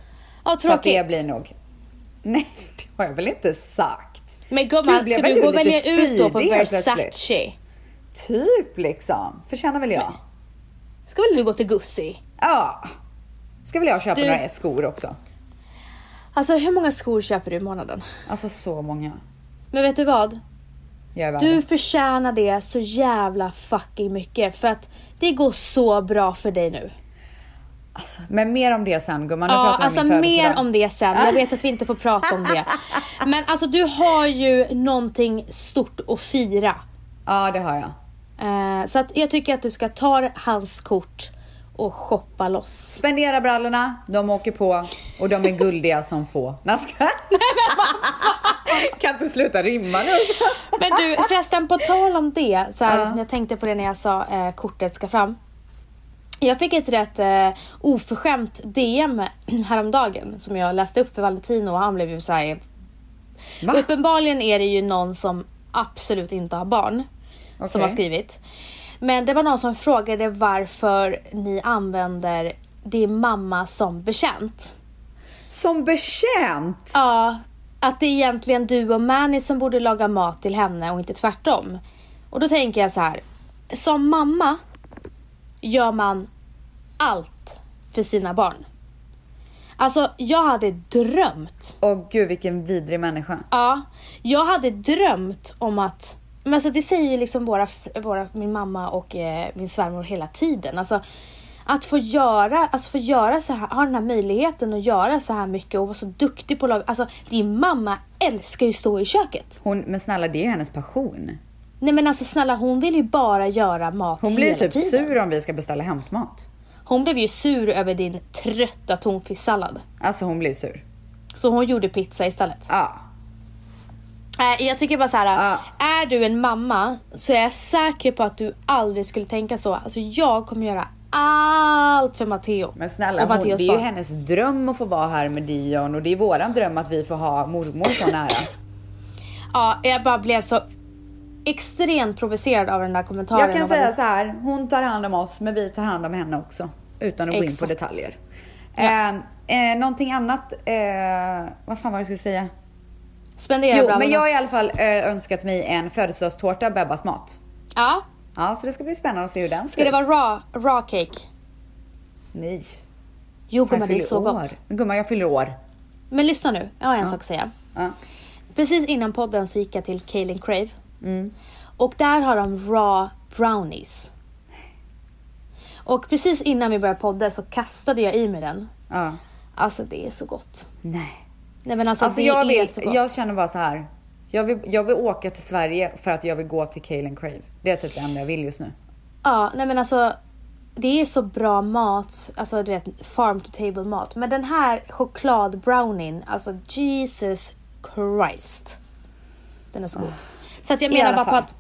[SPEAKER 1] Så
[SPEAKER 2] ja,
[SPEAKER 1] att [laughs]
[SPEAKER 2] tråkigt.
[SPEAKER 1] det blir nog. Nej det har jag väl inte sagt.
[SPEAKER 2] Men gumman,
[SPEAKER 1] Gud,
[SPEAKER 2] ska
[SPEAKER 1] blev
[SPEAKER 2] du
[SPEAKER 1] du
[SPEAKER 2] gå och
[SPEAKER 1] lite
[SPEAKER 2] välja ut då på
[SPEAKER 1] spydig helt plötsligt?
[SPEAKER 2] Versace?
[SPEAKER 1] Typ liksom. Förtjänar väl jag?
[SPEAKER 2] Ska väl du gå till Gucci?
[SPEAKER 1] Ja. Ska väl jag köpa
[SPEAKER 2] Du-
[SPEAKER 1] några skor också?
[SPEAKER 2] Alltså hur många skor köper du i månaden?
[SPEAKER 1] Alltså så många.
[SPEAKER 2] Men vet du vad?
[SPEAKER 1] Jag är värd
[SPEAKER 2] Du
[SPEAKER 1] det.
[SPEAKER 2] förtjänar det så jävla fucking mycket för att det går så bra för dig nu.
[SPEAKER 1] Alltså, men mer om det sen gumman. Nu
[SPEAKER 2] Ja,
[SPEAKER 1] pratar vi
[SPEAKER 2] alltså
[SPEAKER 1] om min
[SPEAKER 2] mer
[SPEAKER 1] födelsedag.
[SPEAKER 2] om det sen. Jag vet att vi inte får prata om
[SPEAKER 1] [laughs]
[SPEAKER 2] det. Men alltså du har ju någonting stort att fira.
[SPEAKER 1] Ja, det har jag.
[SPEAKER 2] Eh, så att jag tycker att du ska ta hans kort och shoppa loss.
[SPEAKER 1] Spendera brallorna, de åker på och de är guldiga som få. Nej, ska...
[SPEAKER 2] [laughs]
[SPEAKER 1] Kan inte sluta rimma nu.
[SPEAKER 2] Men
[SPEAKER 1] [laughs]
[SPEAKER 2] du förresten på tal om det, så här,
[SPEAKER 1] Ja.
[SPEAKER 2] jag tänkte på det när jag sa eh, kortet ska fram. Jag fick ett rätt eh, oförskämt DM [clears throat] häromdagen som jag läste upp för Valentino och han blev ju så här.
[SPEAKER 1] Va?
[SPEAKER 2] Uppenbarligen är det ju någon som absolut inte har barn som
[SPEAKER 1] Okej.
[SPEAKER 2] har skrivit. Men det var någon som frågade varför ni använder det är mamma som bekänt.
[SPEAKER 1] Som betjänt!
[SPEAKER 2] Ja, att det är egentligen du och Manny som borde laga mat till henne och inte tvärtom. Och då tänker jag så här. Som mamma gör man allt för sina barn. Alltså, jag hade drömt.
[SPEAKER 1] Åh gud vilken vidrig människa.
[SPEAKER 2] Ja, jag hade drömt om att men alltså det säger ju liksom våra, våra, min mamma och eh, min svärmor hela tiden. Alltså, att få göra, alltså få göra så här, ha den här möjligheten att göra så här mycket och vara så duktig på lag. Alltså din mamma älskar ju stå i köket.
[SPEAKER 1] Hon, men snälla det är ju hennes passion.
[SPEAKER 2] Nej men alltså snälla hon vill ju bara göra mat
[SPEAKER 1] Hon blir ju
[SPEAKER 2] hela
[SPEAKER 1] typ
[SPEAKER 2] tiden.
[SPEAKER 1] sur om vi ska beställa hämtmat.
[SPEAKER 2] Hon blev ju sur över din trötta tonfisksallad.
[SPEAKER 1] Alltså hon blir sur.
[SPEAKER 2] Så hon gjorde pizza istället.
[SPEAKER 1] Ja.
[SPEAKER 2] Äh, jag tycker bara så här.
[SPEAKER 1] Ja.
[SPEAKER 2] är du en mamma så är jag säker på att du aldrig skulle tänka så. Alltså jag kommer göra allt för Matteo.
[SPEAKER 1] Men snälla
[SPEAKER 2] och
[SPEAKER 1] hon, det
[SPEAKER 2] Matteos
[SPEAKER 1] är ju
[SPEAKER 2] barn.
[SPEAKER 1] hennes dröm att få vara här med Dion och det är våran dröm att vi får ha mormor så nära.
[SPEAKER 2] Ja, jag bara blev så extremt provocerad av den där kommentaren.
[SPEAKER 1] Jag kan
[SPEAKER 2] och bara-
[SPEAKER 1] säga så här, hon tar hand om oss men vi tar hand om henne också. Utan att gå in på
[SPEAKER 2] Exakt.
[SPEAKER 1] detaljer. Eh, eh, någonting annat, eh, vad fan var det jag skulle säga?
[SPEAKER 2] Spendera
[SPEAKER 1] Jo,
[SPEAKER 2] brallorna.
[SPEAKER 1] men jag har i alla fall eh, önskat mig en födelsedagstårta Bebbas mat.
[SPEAKER 2] Ja,
[SPEAKER 1] Ja, så det ska bli spännande att se hur den ser
[SPEAKER 2] ska det
[SPEAKER 1] ut.
[SPEAKER 2] vara raw, raw cake?
[SPEAKER 1] Nej.
[SPEAKER 2] Jo
[SPEAKER 1] fan,
[SPEAKER 2] gumman, det
[SPEAKER 1] jag
[SPEAKER 2] är så
[SPEAKER 1] fyller år.
[SPEAKER 2] gott.
[SPEAKER 1] Gumman, jag fyller år.
[SPEAKER 2] Men lyssna nu, jag har en sak att säga.
[SPEAKER 1] Ja.
[SPEAKER 2] Precis innan podden så gick jag till Kaelin Crave.
[SPEAKER 1] Mm.
[SPEAKER 2] Och där har de raw brownies. Och precis innan vi började podda så kastade jag i mig den.
[SPEAKER 1] ja.
[SPEAKER 2] Alltså det är så gott.
[SPEAKER 1] Nej.
[SPEAKER 2] Nej men alltså,
[SPEAKER 1] Alltså
[SPEAKER 2] det
[SPEAKER 1] jag
[SPEAKER 2] är
[SPEAKER 1] vill,
[SPEAKER 2] så gott.
[SPEAKER 1] jag känner bara så här. Jag vill, jag vill åka till Sverige för att jag vill gå till Kalen Crave. Det är typ det enda jag vill just nu.
[SPEAKER 2] Ja, nej men alltså. Det är så bra mat, alltså du vet farm to table mat. Men den här chokladbrownien, alltså Jesus Christ. Den är så god. Så att jag
[SPEAKER 1] I
[SPEAKER 2] menar
[SPEAKER 1] alla
[SPEAKER 2] bara på
[SPEAKER 1] fall.
[SPEAKER 2] att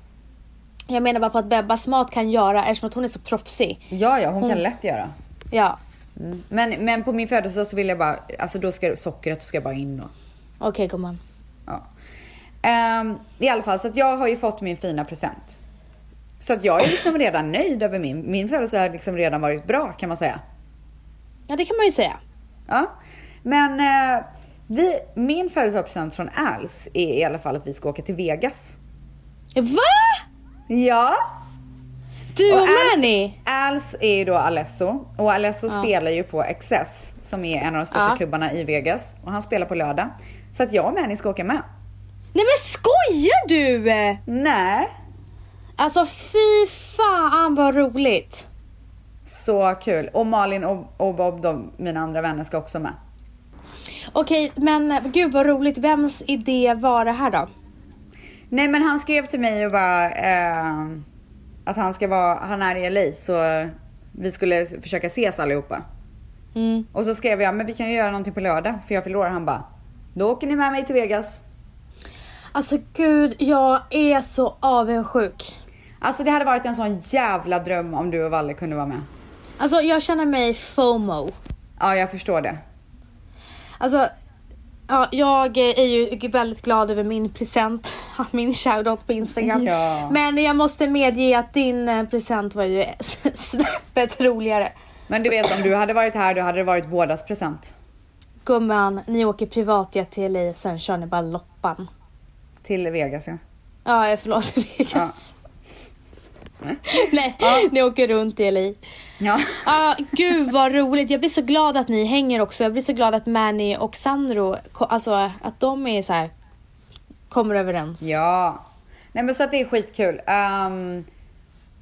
[SPEAKER 2] jag menar bara på att Bebbas mat kan göra, eftersom att hon är så proffsig.
[SPEAKER 1] Ja, ja, hon kan lätt göra.
[SPEAKER 2] Ja,
[SPEAKER 1] Mm. Men, men på min födelsedag så vill jag bara, alltså då ska sockret ska bara in då.
[SPEAKER 2] okej gumman.
[SPEAKER 1] Ja. Ehm, I alla fall så att jag har ju fått min fina present. Så att jag är liksom redan nöjd över min, min födelsedag har liksom redan varit bra kan man säga.
[SPEAKER 2] Ja det kan man ju säga.
[SPEAKER 1] Ja. Men eh, vi, min födelsedagspresent från Als är i alla fall att vi ska åka till Vegas.
[SPEAKER 2] Va?
[SPEAKER 1] Ja!
[SPEAKER 2] Du och,
[SPEAKER 1] Als-
[SPEAKER 2] Manny?
[SPEAKER 1] Als är ju då Alesso och Alesso spelar ju på Excess som är en av de största
[SPEAKER 2] Ja.
[SPEAKER 1] klubbarna i Vegas och han spelar på lördag. Så att jag och Manny ska åka med.
[SPEAKER 2] Nej men skojar du?
[SPEAKER 1] Nej,
[SPEAKER 2] Alltså fy fan vad roligt.
[SPEAKER 1] så kul. Och Malin och, och Bob, de, mina andra vänner, ska också med.
[SPEAKER 2] Okej men gud vad roligt. Vems idé var det här då?
[SPEAKER 1] Nej men han skrev till mig och bara eh, att han ska vara, han är i LA så vi skulle försöka ses allihopa.
[SPEAKER 2] Mm.
[SPEAKER 1] Och så skrev jag, men vi kan ju göra någonting på lördag för jag fyller år. Han bara, då åker ni med mig till Vegas.
[SPEAKER 2] Alltså gud, jag är så avundsjuk.
[SPEAKER 1] Alltså det hade varit en sån jävla dröm om du och Valle kunde vara med.
[SPEAKER 2] Alltså jag känner mig FOMO.
[SPEAKER 1] Ja, jag förstår det.
[SPEAKER 2] Alltså, ja, jag är ju väldigt glad över min present, [laughs] min shoutout på Instagram.
[SPEAKER 1] Ja.
[SPEAKER 2] Men jag måste medge att din eh, present var ju [laughs] snäppet roligare.
[SPEAKER 1] Men du vet om du hade varit här, då hade det varit bådas present.
[SPEAKER 2] Gumman, ni åker privatjet till LA, sen kör ni bara loppan.
[SPEAKER 1] Till Vegas ja.
[SPEAKER 2] Ja, eh, förlåt [laughs] Vegas. Nej, ni åker runt i LA.
[SPEAKER 1] Ja.
[SPEAKER 2] Ah, gud vad roligt. Jag blir så glad att ni hänger också. Jag blir så glad att Manny och Sandro, ko- alltså att de är så här kommer överens.
[SPEAKER 1] Ja. Nej men så att det är skitkul. Ehm,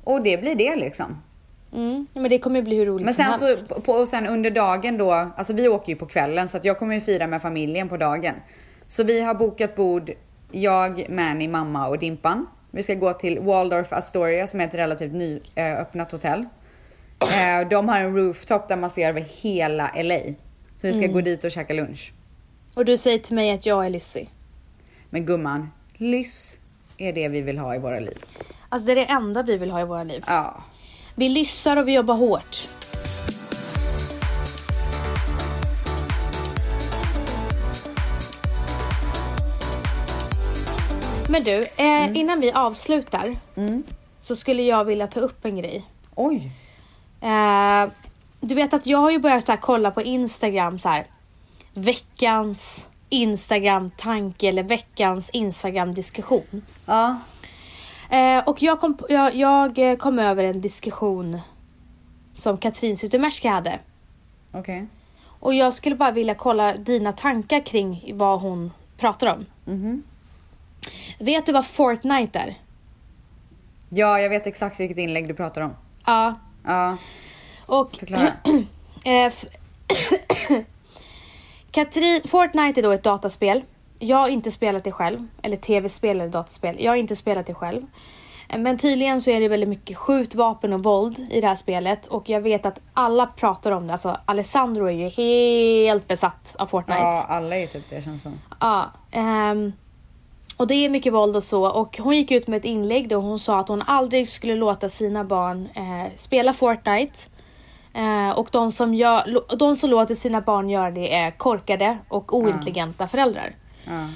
[SPEAKER 1] och det blir det liksom.
[SPEAKER 2] Mm. Men det kommer ju bli hur roligt
[SPEAKER 1] Men sen,
[SPEAKER 2] som helst.
[SPEAKER 1] så, på, och sen under dagen då, alltså vi åker ju på kvällen så att jag kommer ju fira med familjen på dagen. Så vi har bokat bord, jag, Manny, mamma och Dimpan. Vi ska gå till Waldorf Astoria som är ett relativt nyöppnat hotell. Eh, De har en rooftop där man ser över hela LA. Så vi ska
[SPEAKER 2] Mm.
[SPEAKER 1] gå dit och käka lunch.
[SPEAKER 2] Och du säger till mig att jag är Lizzie.
[SPEAKER 1] Men gumman, lyss är det vi vill ha i våra liv.
[SPEAKER 2] Alltså det är det enda vi vill ha i våra liv.
[SPEAKER 1] Ja.
[SPEAKER 2] Vi lyssnar och vi jobbar hårt. Men du, eh,
[SPEAKER 1] Mm.
[SPEAKER 2] innan vi avslutar så skulle jag vilja ta upp en grej.
[SPEAKER 1] Oj.
[SPEAKER 2] Eh, du vet att jag har ju börjat så här, kolla på Instagram så här. Veckans Instagram-tanke eller veckans Instagram-diskussion.
[SPEAKER 1] Ja.
[SPEAKER 2] Eh, och jag kom, på- jag, jag eh, kom över en diskussion som Katrin Zytomierska hade.
[SPEAKER 1] Okej.
[SPEAKER 2] Och jag skulle bara vilja kolla dina tankar kring vad hon pratar om. Vet du vad Fortnite är?
[SPEAKER 1] Ja, jag vet exakt vilket inlägg du pratar om.
[SPEAKER 2] Ja.
[SPEAKER 1] Ja,
[SPEAKER 2] Och
[SPEAKER 1] förklara.
[SPEAKER 2] Eh, f- [coughs] Katrin, Fortnite är då ett dataspel. Jag har inte spelat det själv. Eller tv-spel eller dataspel. Jag har inte spelat det själv. Eh, Men tydligen så är det väldigt mycket skjutvapen och våld i det här spelet. Och jag vet att alla pratar om det. Alltså Alessandro är ju helt besatt av Fortnite.
[SPEAKER 1] Ja, alla är typ det känns som.
[SPEAKER 2] Ja. ehm, och det är mycket våld och så. Och hon gick ut med ett inlägg där hon sa att hon aldrig skulle låta sina barn eh, spela Fortnite. Eh, och de som, gör, lo- de som låter sina barn göra det är korkade och ointelligenta föräldrar.
[SPEAKER 1] Ja.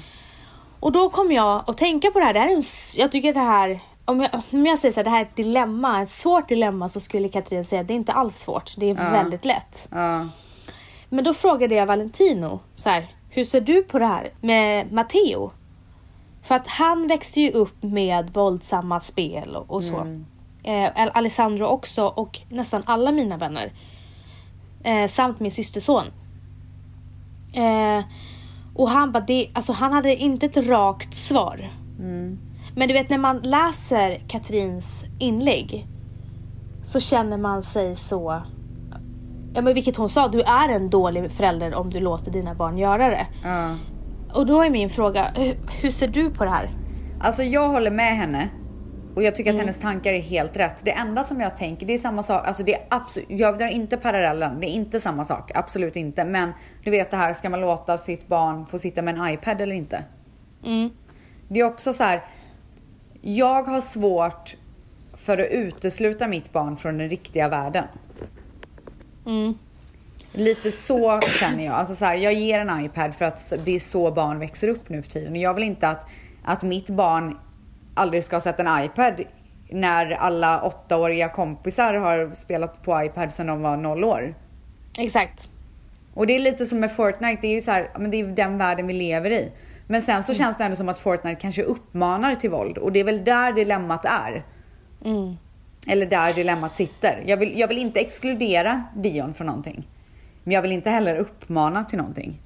[SPEAKER 2] Och då kom jag att tänka på det här. Det här är en, s- jag tycker det här, om jag, om jag säger så här, det här är ett dilemma, ett svårt dilemma så skulle Katrin säga det är inte alls svårt. Det är väldigt lätt.
[SPEAKER 1] Ja.
[SPEAKER 2] Men då frågade jag Valentino så här, hur ser du på det här med Matteo? För att han växte ju upp med våldsamma spel och, och så. Eh, Al- Alessandro också och nästan alla mina vänner. Eh, samt min systerson. Eh, och han bara, det, alltså han hade inte ett rakt svar.
[SPEAKER 1] Mm,
[SPEAKER 2] Men du vet när man läser Katrins inlägg så känner man sig så Ja men vilket hon sa, du är en dålig förälder om du låter dina barn göra det.
[SPEAKER 1] ja.
[SPEAKER 2] Och då är min fråga, hur, hur ser du på det här?
[SPEAKER 1] Alltså jag håller med henne. Och jag tycker att hennes tankar är helt rätt. Det enda som jag tänker, det är samma sak. Alltså det är absolut, jag drar inte parallellen. Det är inte samma sak. Absolut inte. Men du vet det här, ska man låta sitt barn få sitta med en iPad eller inte?
[SPEAKER 2] Mm.
[SPEAKER 1] Det är också så här. Jag har svårt för att utesluta mitt barn från den riktiga världen.
[SPEAKER 2] Mm.
[SPEAKER 1] Lite så känner jag. Alltså så här, jag ger en iPad för att det är så barn växer upp nu för tiden. Och jag vill inte att, att mitt barn aldrig ska ha sett en iPad när alla åttaåriga kompisar har spelat på iPad sedan de var noll år.
[SPEAKER 2] Exakt.
[SPEAKER 1] Och det är lite som med Fortnite, det är ju så här, men det är den världen vi lever i. Men sen så känns det ändå som att Fortnite kanske uppmanar till våld och det är väl där dilemmat är.
[SPEAKER 2] Mm.
[SPEAKER 1] Eller där dilemmat sitter. Jag vill, jag vill inte exkludera Dion från någonting. Men jag vill inte heller uppmana till någonting.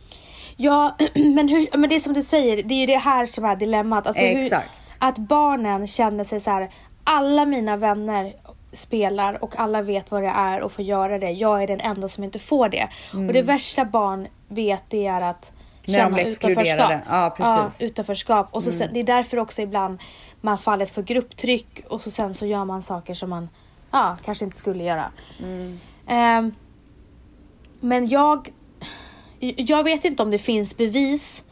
[SPEAKER 2] Ja, [clears throat] men, hur, men det är som du säger, det är ju det här som är dilemmat. Alltså hur,
[SPEAKER 1] Exakt.
[SPEAKER 2] Att barnen känner sig så här, alla mina vänner spelar och alla vet vad det är och får göra det. Jag är den enda som inte får det. Och det värsta barn vet det är att
[SPEAKER 1] När de
[SPEAKER 2] känna
[SPEAKER 1] blir exkluderade.
[SPEAKER 2] utanförskap.
[SPEAKER 1] Ja, precis. Mm.
[SPEAKER 2] Ja, utanförskap. Och så sen, det är därför också ibland man faller för grupptryck och så sen så gör man saker som man ja, kanske inte skulle göra.
[SPEAKER 1] Mm.
[SPEAKER 2] Ehm, men jag, jag vet inte om det finns bevis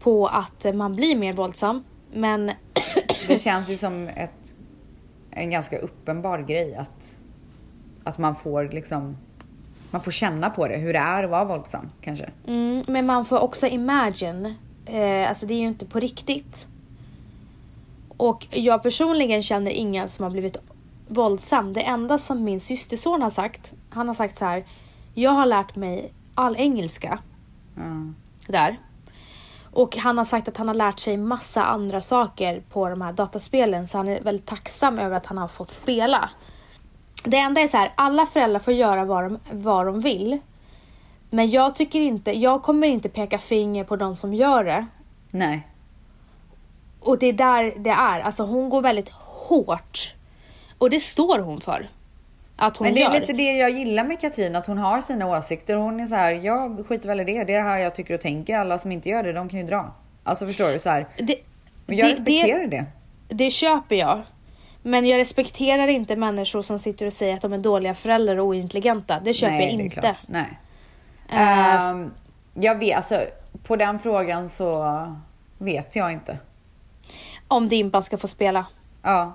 [SPEAKER 2] på att man blir mer våldsam. Men [clears throat]
[SPEAKER 1] Det känns ju som ett, en ganska uppenbar grej att, att man får liksom man får känna på det, hur det är att vara våldsam kanske.
[SPEAKER 2] Mm, men man får också imagine. Eh, alltså det är ju inte på riktigt. Och jag personligen känner ingen som har blivit våldsam. Det enda som min systerson har sagt, han har sagt så här. Jag har lärt mig all engelska
[SPEAKER 1] Ja.
[SPEAKER 2] där. Och han har sagt att han har lärt sig massa andra saker på de här dataspelen så han är väldigt tacksam över att han har fått spela. Det enda är så här, alla föräldrar får göra vad de, vad de vill. Men jag tycker inte, jag kommer inte peka finger på de som gör det.
[SPEAKER 1] Nej.
[SPEAKER 2] Och det är där det är. Alltså hon går väldigt hårt. Och det står hon för. Att hon
[SPEAKER 1] Men det
[SPEAKER 2] gör.
[SPEAKER 1] är lite det jag gillar med Katrin, att hon har sina åsikter. Hon är så här, jag skiter väl i det. Det är det här jag tycker och tänker. Alla som inte gör det, de kan ju dra. Alltså förstår du? Så här,
[SPEAKER 2] det,
[SPEAKER 1] men jag
[SPEAKER 2] det-
[SPEAKER 1] respekterar det.
[SPEAKER 2] Det, det köper jag. Men jag respekterar inte människor som sitter och säger att de är dåliga föräldrar och ointelligenta. Det köper jag
[SPEAKER 1] det är
[SPEAKER 2] inte.
[SPEAKER 1] klart. Nej.
[SPEAKER 2] Eh,
[SPEAKER 1] Ehm, jag vet, alltså på den frågan så vet jag inte.
[SPEAKER 2] om Dimpan ska få spela.
[SPEAKER 1] Ja.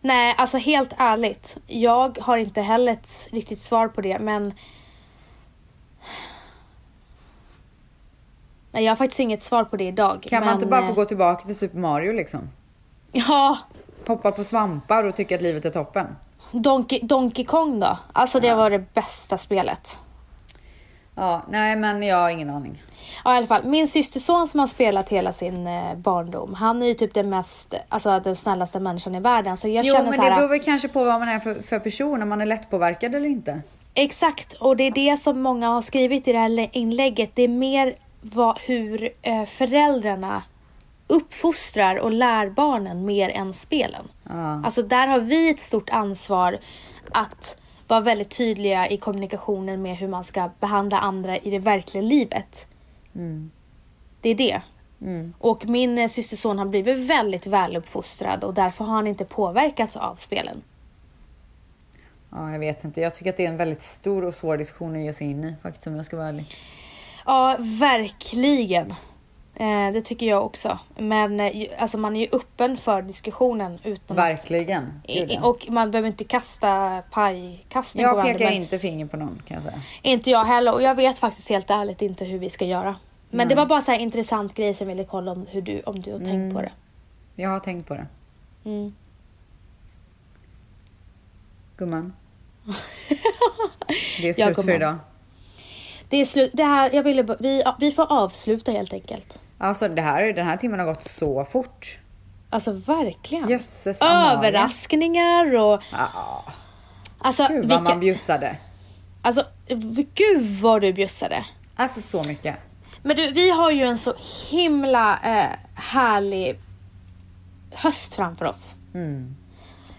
[SPEAKER 2] Nej, alltså helt ärligt. Jag har inte heller ett riktigt svar på det, men... Nej, jag har faktiskt inget svar på det idag.
[SPEAKER 1] Kan man
[SPEAKER 2] men,
[SPEAKER 1] inte bara få
[SPEAKER 2] eh,
[SPEAKER 1] gå tillbaka till Super Mario liksom?
[SPEAKER 2] Ja,
[SPEAKER 1] Hoppa på svampar och tycka att livet är toppen.
[SPEAKER 2] Donkey, Donkey Kong då? Alltså det var det bästa spelet.
[SPEAKER 1] Ja, nej men jag har ingen aning.
[SPEAKER 2] Ja i alla fall, min systerson som har spelat hela sin eh, barndom, han är ju typ den mest, alltså den snällaste människan i världen. Så jag
[SPEAKER 1] jo
[SPEAKER 2] känner
[SPEAKER 1] men
[SPEAKER 2] så
[SPEAKER 1] det
[SPEAKER 2] här,
[SPEAKER 1] beror väl kanske på vad man är för, för person, om man är lättpåverkad eller inte.
[SPEAKER 2] Exakt, och det är det som många har skrivit i det här le- inlägget. Det är mer vad, hur eh, föräldrarna uppfostrar och lär barnen mer än spelen.
[SPEAKER 1] Ja.
[SPEAKER 2] Alltså där har vi ett stort ansvar att vara väldigt tydliga i kommunikationen med hur man ska behandla andra i det verkliga livet.
[SPEAKER 1] Mm.
[SPEAKER 2] Det är det. Och min eh, systerson har blivit väldigt väluppfostrad och därför har han inte påverkats av spelen.
[SPEAKER 1] ja, jag vet inte. Jag tycker att det är en väldigt stor och svår diskussion att ge sig in i faktiskt om jag ska vara ärlig.
[SPEAKER 2] Ja, verkligen. Eh, det tycker jag också. Men eh, ju- alltså, man är ju öppen för diskussionen. Utan
[SPEAKER 1] Verkligen.
[SPEAKER 2] I-
[SPEAKER 1] Gud,
[SPEAKER 2] i-
[SPEAKER 1] ja.
[SPEAKER 2] och man behöver inte kasta pajkastning på
[SPEAKER 1] Jag
[SPEAKER 2] varandra.
[SPEAKER 1] pekar
[SPEAKER 2] men-
[SPEAKER 1] inte finger på någon kan jag säga.
[SPEAKER 2] Inte jag heller och jag vet faktiskt helt ärligt inte hur vi ska göra. Men det var bara så här intressant grej som jag ville kolla om, hur du, om du har tänkt på
[SPEAKER 1] Mm.
[SPEAKER 2] det.
[SPEAKER 1] Jag har tänkt på det.
[SPEAKER 2] Mm. [laughs]
[SPEAKER 1] Gumman. Det är
[SPEAKER 2] Ja,
[SPEAKER 1] slut för
[SPEAKER 2] gumman.
[SPEAKER 1] idag.
[SPEAKER 2] Det är slut. Det här, jag ville, bara- vi, ja, vi får avsluta helt enkelt.
[SPEAKER 1] Alltså det här, den här timmen har gått så fort.
[SPEAKER 2] Alltså verkligen.
[SPEAKER 1] Jösses Amalia.
[SPEAKER 2] Överraskningar och...
[SPEAKER 1] Ja,
[SPEAKER 2] Alltså,
[SPEAKER 1] Gud vad
[SPEAKER 2] vilka,
[SPEAKER 1] man bjussade.
[SPEAKER 2] alltså, gud vad du bjussade.
[SPEAKER 1] Alltså så mycket.
[SPEAKER 2] Men du, vi har ju en så himla eh, härlig höst framför oss.
[SPEAKER 1] Mm.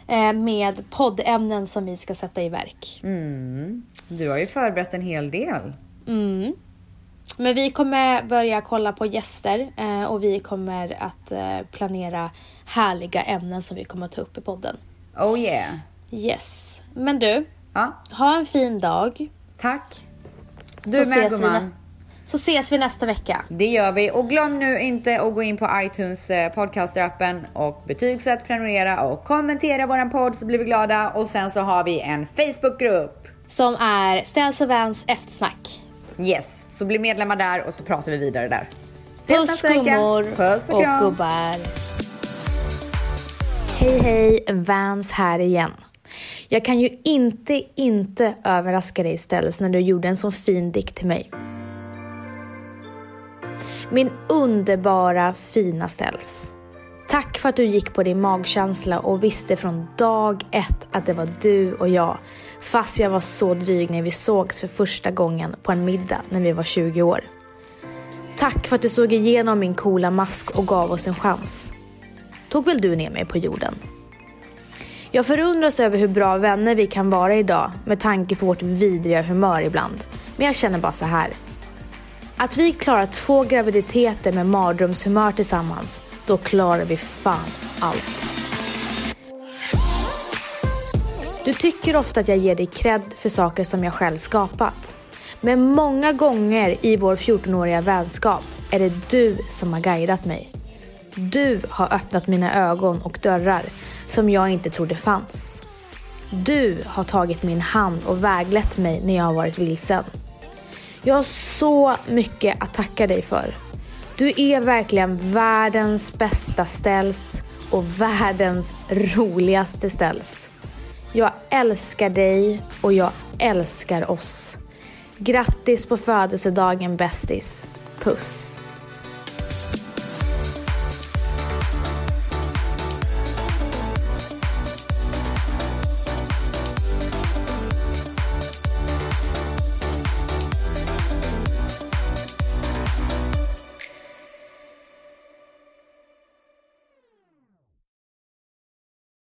[SPEAKER 2] Eh, med poddämnen som vi ska sätta i verk.
[SPEAKER 1] Mm. Du har ju förberett en hel del.
[SPEAKER 2] Mm. Men vi kommer börja kolla på gäster eh, och vi kommer att eh, planera härliga ämnen som vi kommer att ta upp i podden.
[SPEAKER 1] Oh yeah.
[SPEAKER 2] Yes. Men du,
[SPEAKER 1] Ja,
[SPEAKER 2] ha en fin dag.
[SPEAKER 1] tack. Du
[SPEAKER 2] Så
[SPEAKER 1] är med
[SPEAKER 2] ses vi nä-
[SPEAKER 1] gumman.
[SPEAKER 2] Så ses vi nästa vecka.
[SPEAKER 1] Det gör vi. Och glöm nu inte att gå in på iTunes eh, podcastrappen och betygsätt, prenumerera och kommentera våran podd så blir vi glada. Och sen så har vi en Facebookgrupp.
[SPEAKER 2] Som är Ställs och Vans eftersnack.
[SPEAKER 1] Yes, så bli medlemmar där och så pratar vi vidare där. Ses
[SPEAKER 2] Puss
[SPEAKER 1] nästa vecka.
[SPEAKER 2] gummor
[SPEAKER 1] Puss och,
[SPEAKER 2] och
[SPEAKER 1] kram.
[SPEAKER 2] gubbar. Hej hej, Vans här igen. Jag kan ju inte, inte överraska dig istället när du gjorde en sån fin dikt till mig. Min underbara fina ställs. Tack för att du gick på din magkänsla och visste från dag ett att det var du och jag. Fast jag var så dryg när vi sågs för första gången på en middag när vi var 20 år. Tack för att du såg igenom min coola mask och gav oss en chans. Tog väl du ner mig på jorden? Jag förundras över hur bra vänner vi kan vara idag med tanke på vårt vidriga humör ibland. Men jag känner bara så här. Att vi klarar två graviditeter med mardrömshumör tillsammans, då klarar vi fan allt. Du tycker ofta att jag ger dig cred för saker som jag själv skapat. Men många gånger i vår 14-åriga vänskap är det du som har guidat mig. Du har öppnat mina ögon och dörrar som jag inte trodde fanns. Du har tagit min hand och väglett mig när jag har varit vilsen. Jag har så mycket att tacka dig för. Du är verkligen världens bästa ställs och världens roligaste ställs. Jag älskar dig och jag älskar oss. Grattis på födelsedagen bästis. Puss.